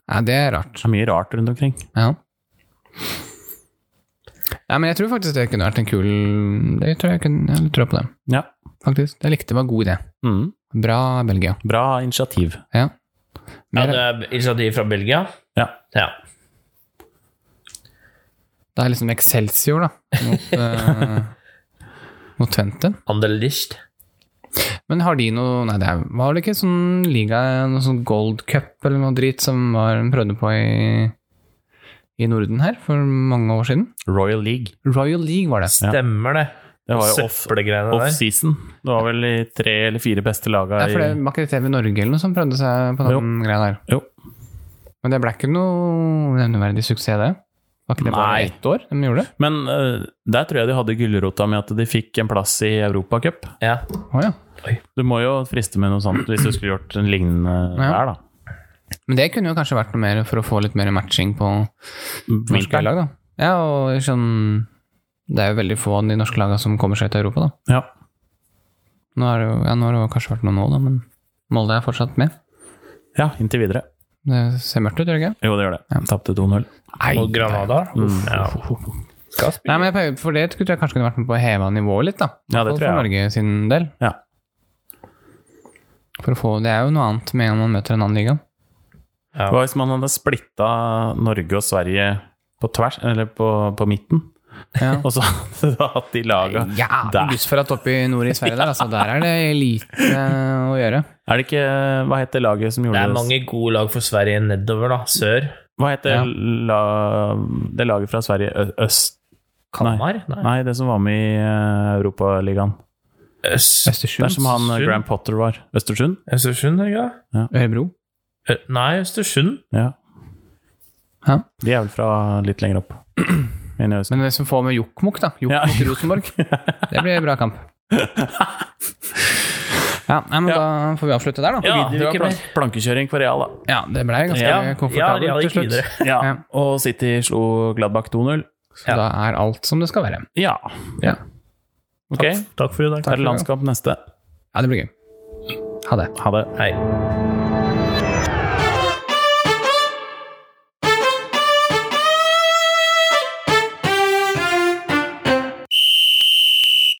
S3: Ja, det er rart.
S1: Det er mye rart rundt omkring.
S3: Ja. ja. Men jeg tror faktisk det kunne vært en kul Det tror jeg kunne Jeg tror på det,
S1: Ja.
S3: faktisk. Jeg likte det var god idé.
S1: Mm.
S3: Bra Belgia.
S1: Bra initiativ.
S3: Ja.
S2: Ja,
S3: Mer,
S2: det er initiativ fra Belgia.
S1: Ja.
S2: Ja.
S3: det er liksom Excelsior, da, mot, eh, mot Twente.
S2: Anderlicht.
S3: Men har de noe Nei, det er, var det ikke sånn liga, noe sånn Gold Cup eller noe drit som var, de prøvde på i, i Norden her for mange år siden?
S1: Royal League.
S3: Royal League var det.
S2: Stemmer det.
S1: Det var jo off-
S2: Søppelgreiene der.
S1: off-season. det var vel i tre eller fire beste laga
S3: Ja, for det
S1: i
S3: var ikke det TV Norge eller noe som prøvde seg på den
S1: Jo.
S3: greia der.
S1: Jo.
S3: Men det ble ikke noe nevneverdig suksess, det. Var ikke det bare
S1: Nei.
S3: ett år de gjorde det?
S1: Men eh, der tror jeg de hadde gulrota med at de fikk en plass i Europacup.
S2: Ja.
S3: Å ja.
S1: Du må jo friste med noe sånt hvis du skulle gjort en lignende
S3: Ja.
S1: der, da.
S3: Men det kunne jo kanskje vært noe mer for å få litt mer matching på norske
S1: Vinteren.
S3: lag, da. Ja, og sånn Det er jo veldig få av de norske lagene som kommer seg til Europa, da.
S1: Ja.
S3: Nå, er det jo, ja, nå har det jo kanskje vært noe nå, da, men Molde er fortsatt med.
S1: ja, inntil videre.
S3: Det ser mørkt ut, gjør det ikke?
S1: Jo, det gjør det. Tapte 2-0.
S2: Og Granada. Uff, ja. Skal spille.
S3: Nei, men jeg pleier- For det tror jeg kanskje kunne vært med på å heve nivået litt, da.
S1: Ja, det
S3: For-
S1: tror jeg.
S3: For Norge sin del.
S1: Ja.
S3: For å få, det er jo noe annet med om man møter en annen liga.
S2: Ja.
S1: Hva hvis man hadde splitta Norge og Sverige på tvers, eller på, på midten?
S3: Ja.
S1: Og så hadde du hatt de laga
S3: Ja,
S1: der.
S3: bussfratt oppe i nord i Sverige der, altså. Der er det lite å gjøre.
S1: Er det ikke Hva heter laget som
S2: Det
S1: gjorde
S2: er mange gode lag for Sverige nedover, da. Sør.
S1: Hva heter
S3: Ja.
S1: la, det laget fra Sverige ø- øst
S2: Kalmar? Nei.
S1: Nei. Nei, det som var med i eh, Europaligaen.
S2: Øst-
S1: Der
S3: Østersund.
S1: som han eh,
S2: Østersund?
S1: Graham Potter var. Østersund?
S2: Østersund, er det ikke?
S3: Ørebro.
S2: det? Ø- Eh, Nei, Østersund.
S1: Ja.
S3: Hæ?
S1: De er vel fra litt lenger opp. Men i øst.
S3: Men det som får med Jokkmokk, da.
S1: Ja.
S3: Jokkmokk Rosenborg. Det blir bra kamp. Ja, nei, men da får vi avslutte der, da.
S1: Ja,
S2: gidder
S1: det
S2: ikke
S1: var plank plankekjøring for Real, da.
S3: Ja, det blei ganske
S2: Ja, ja,
S3: komfortabelt
S2: Real
S3: til
S2: gikk
S3: slutt.
S2: videre.
S1: Ja.
S3: Ja.
S1: Og City slo Gladbach 2-0.
S3: Så da er alt som det skal være.
S1: Ja.
S3: Ja.
S1: Ok,
S2: Takk, takk for i dag.
S1: da er det landskamp neste.
S3: Ja, det blir gøy. Ha det.
S1: Ha det.
S2: Hei.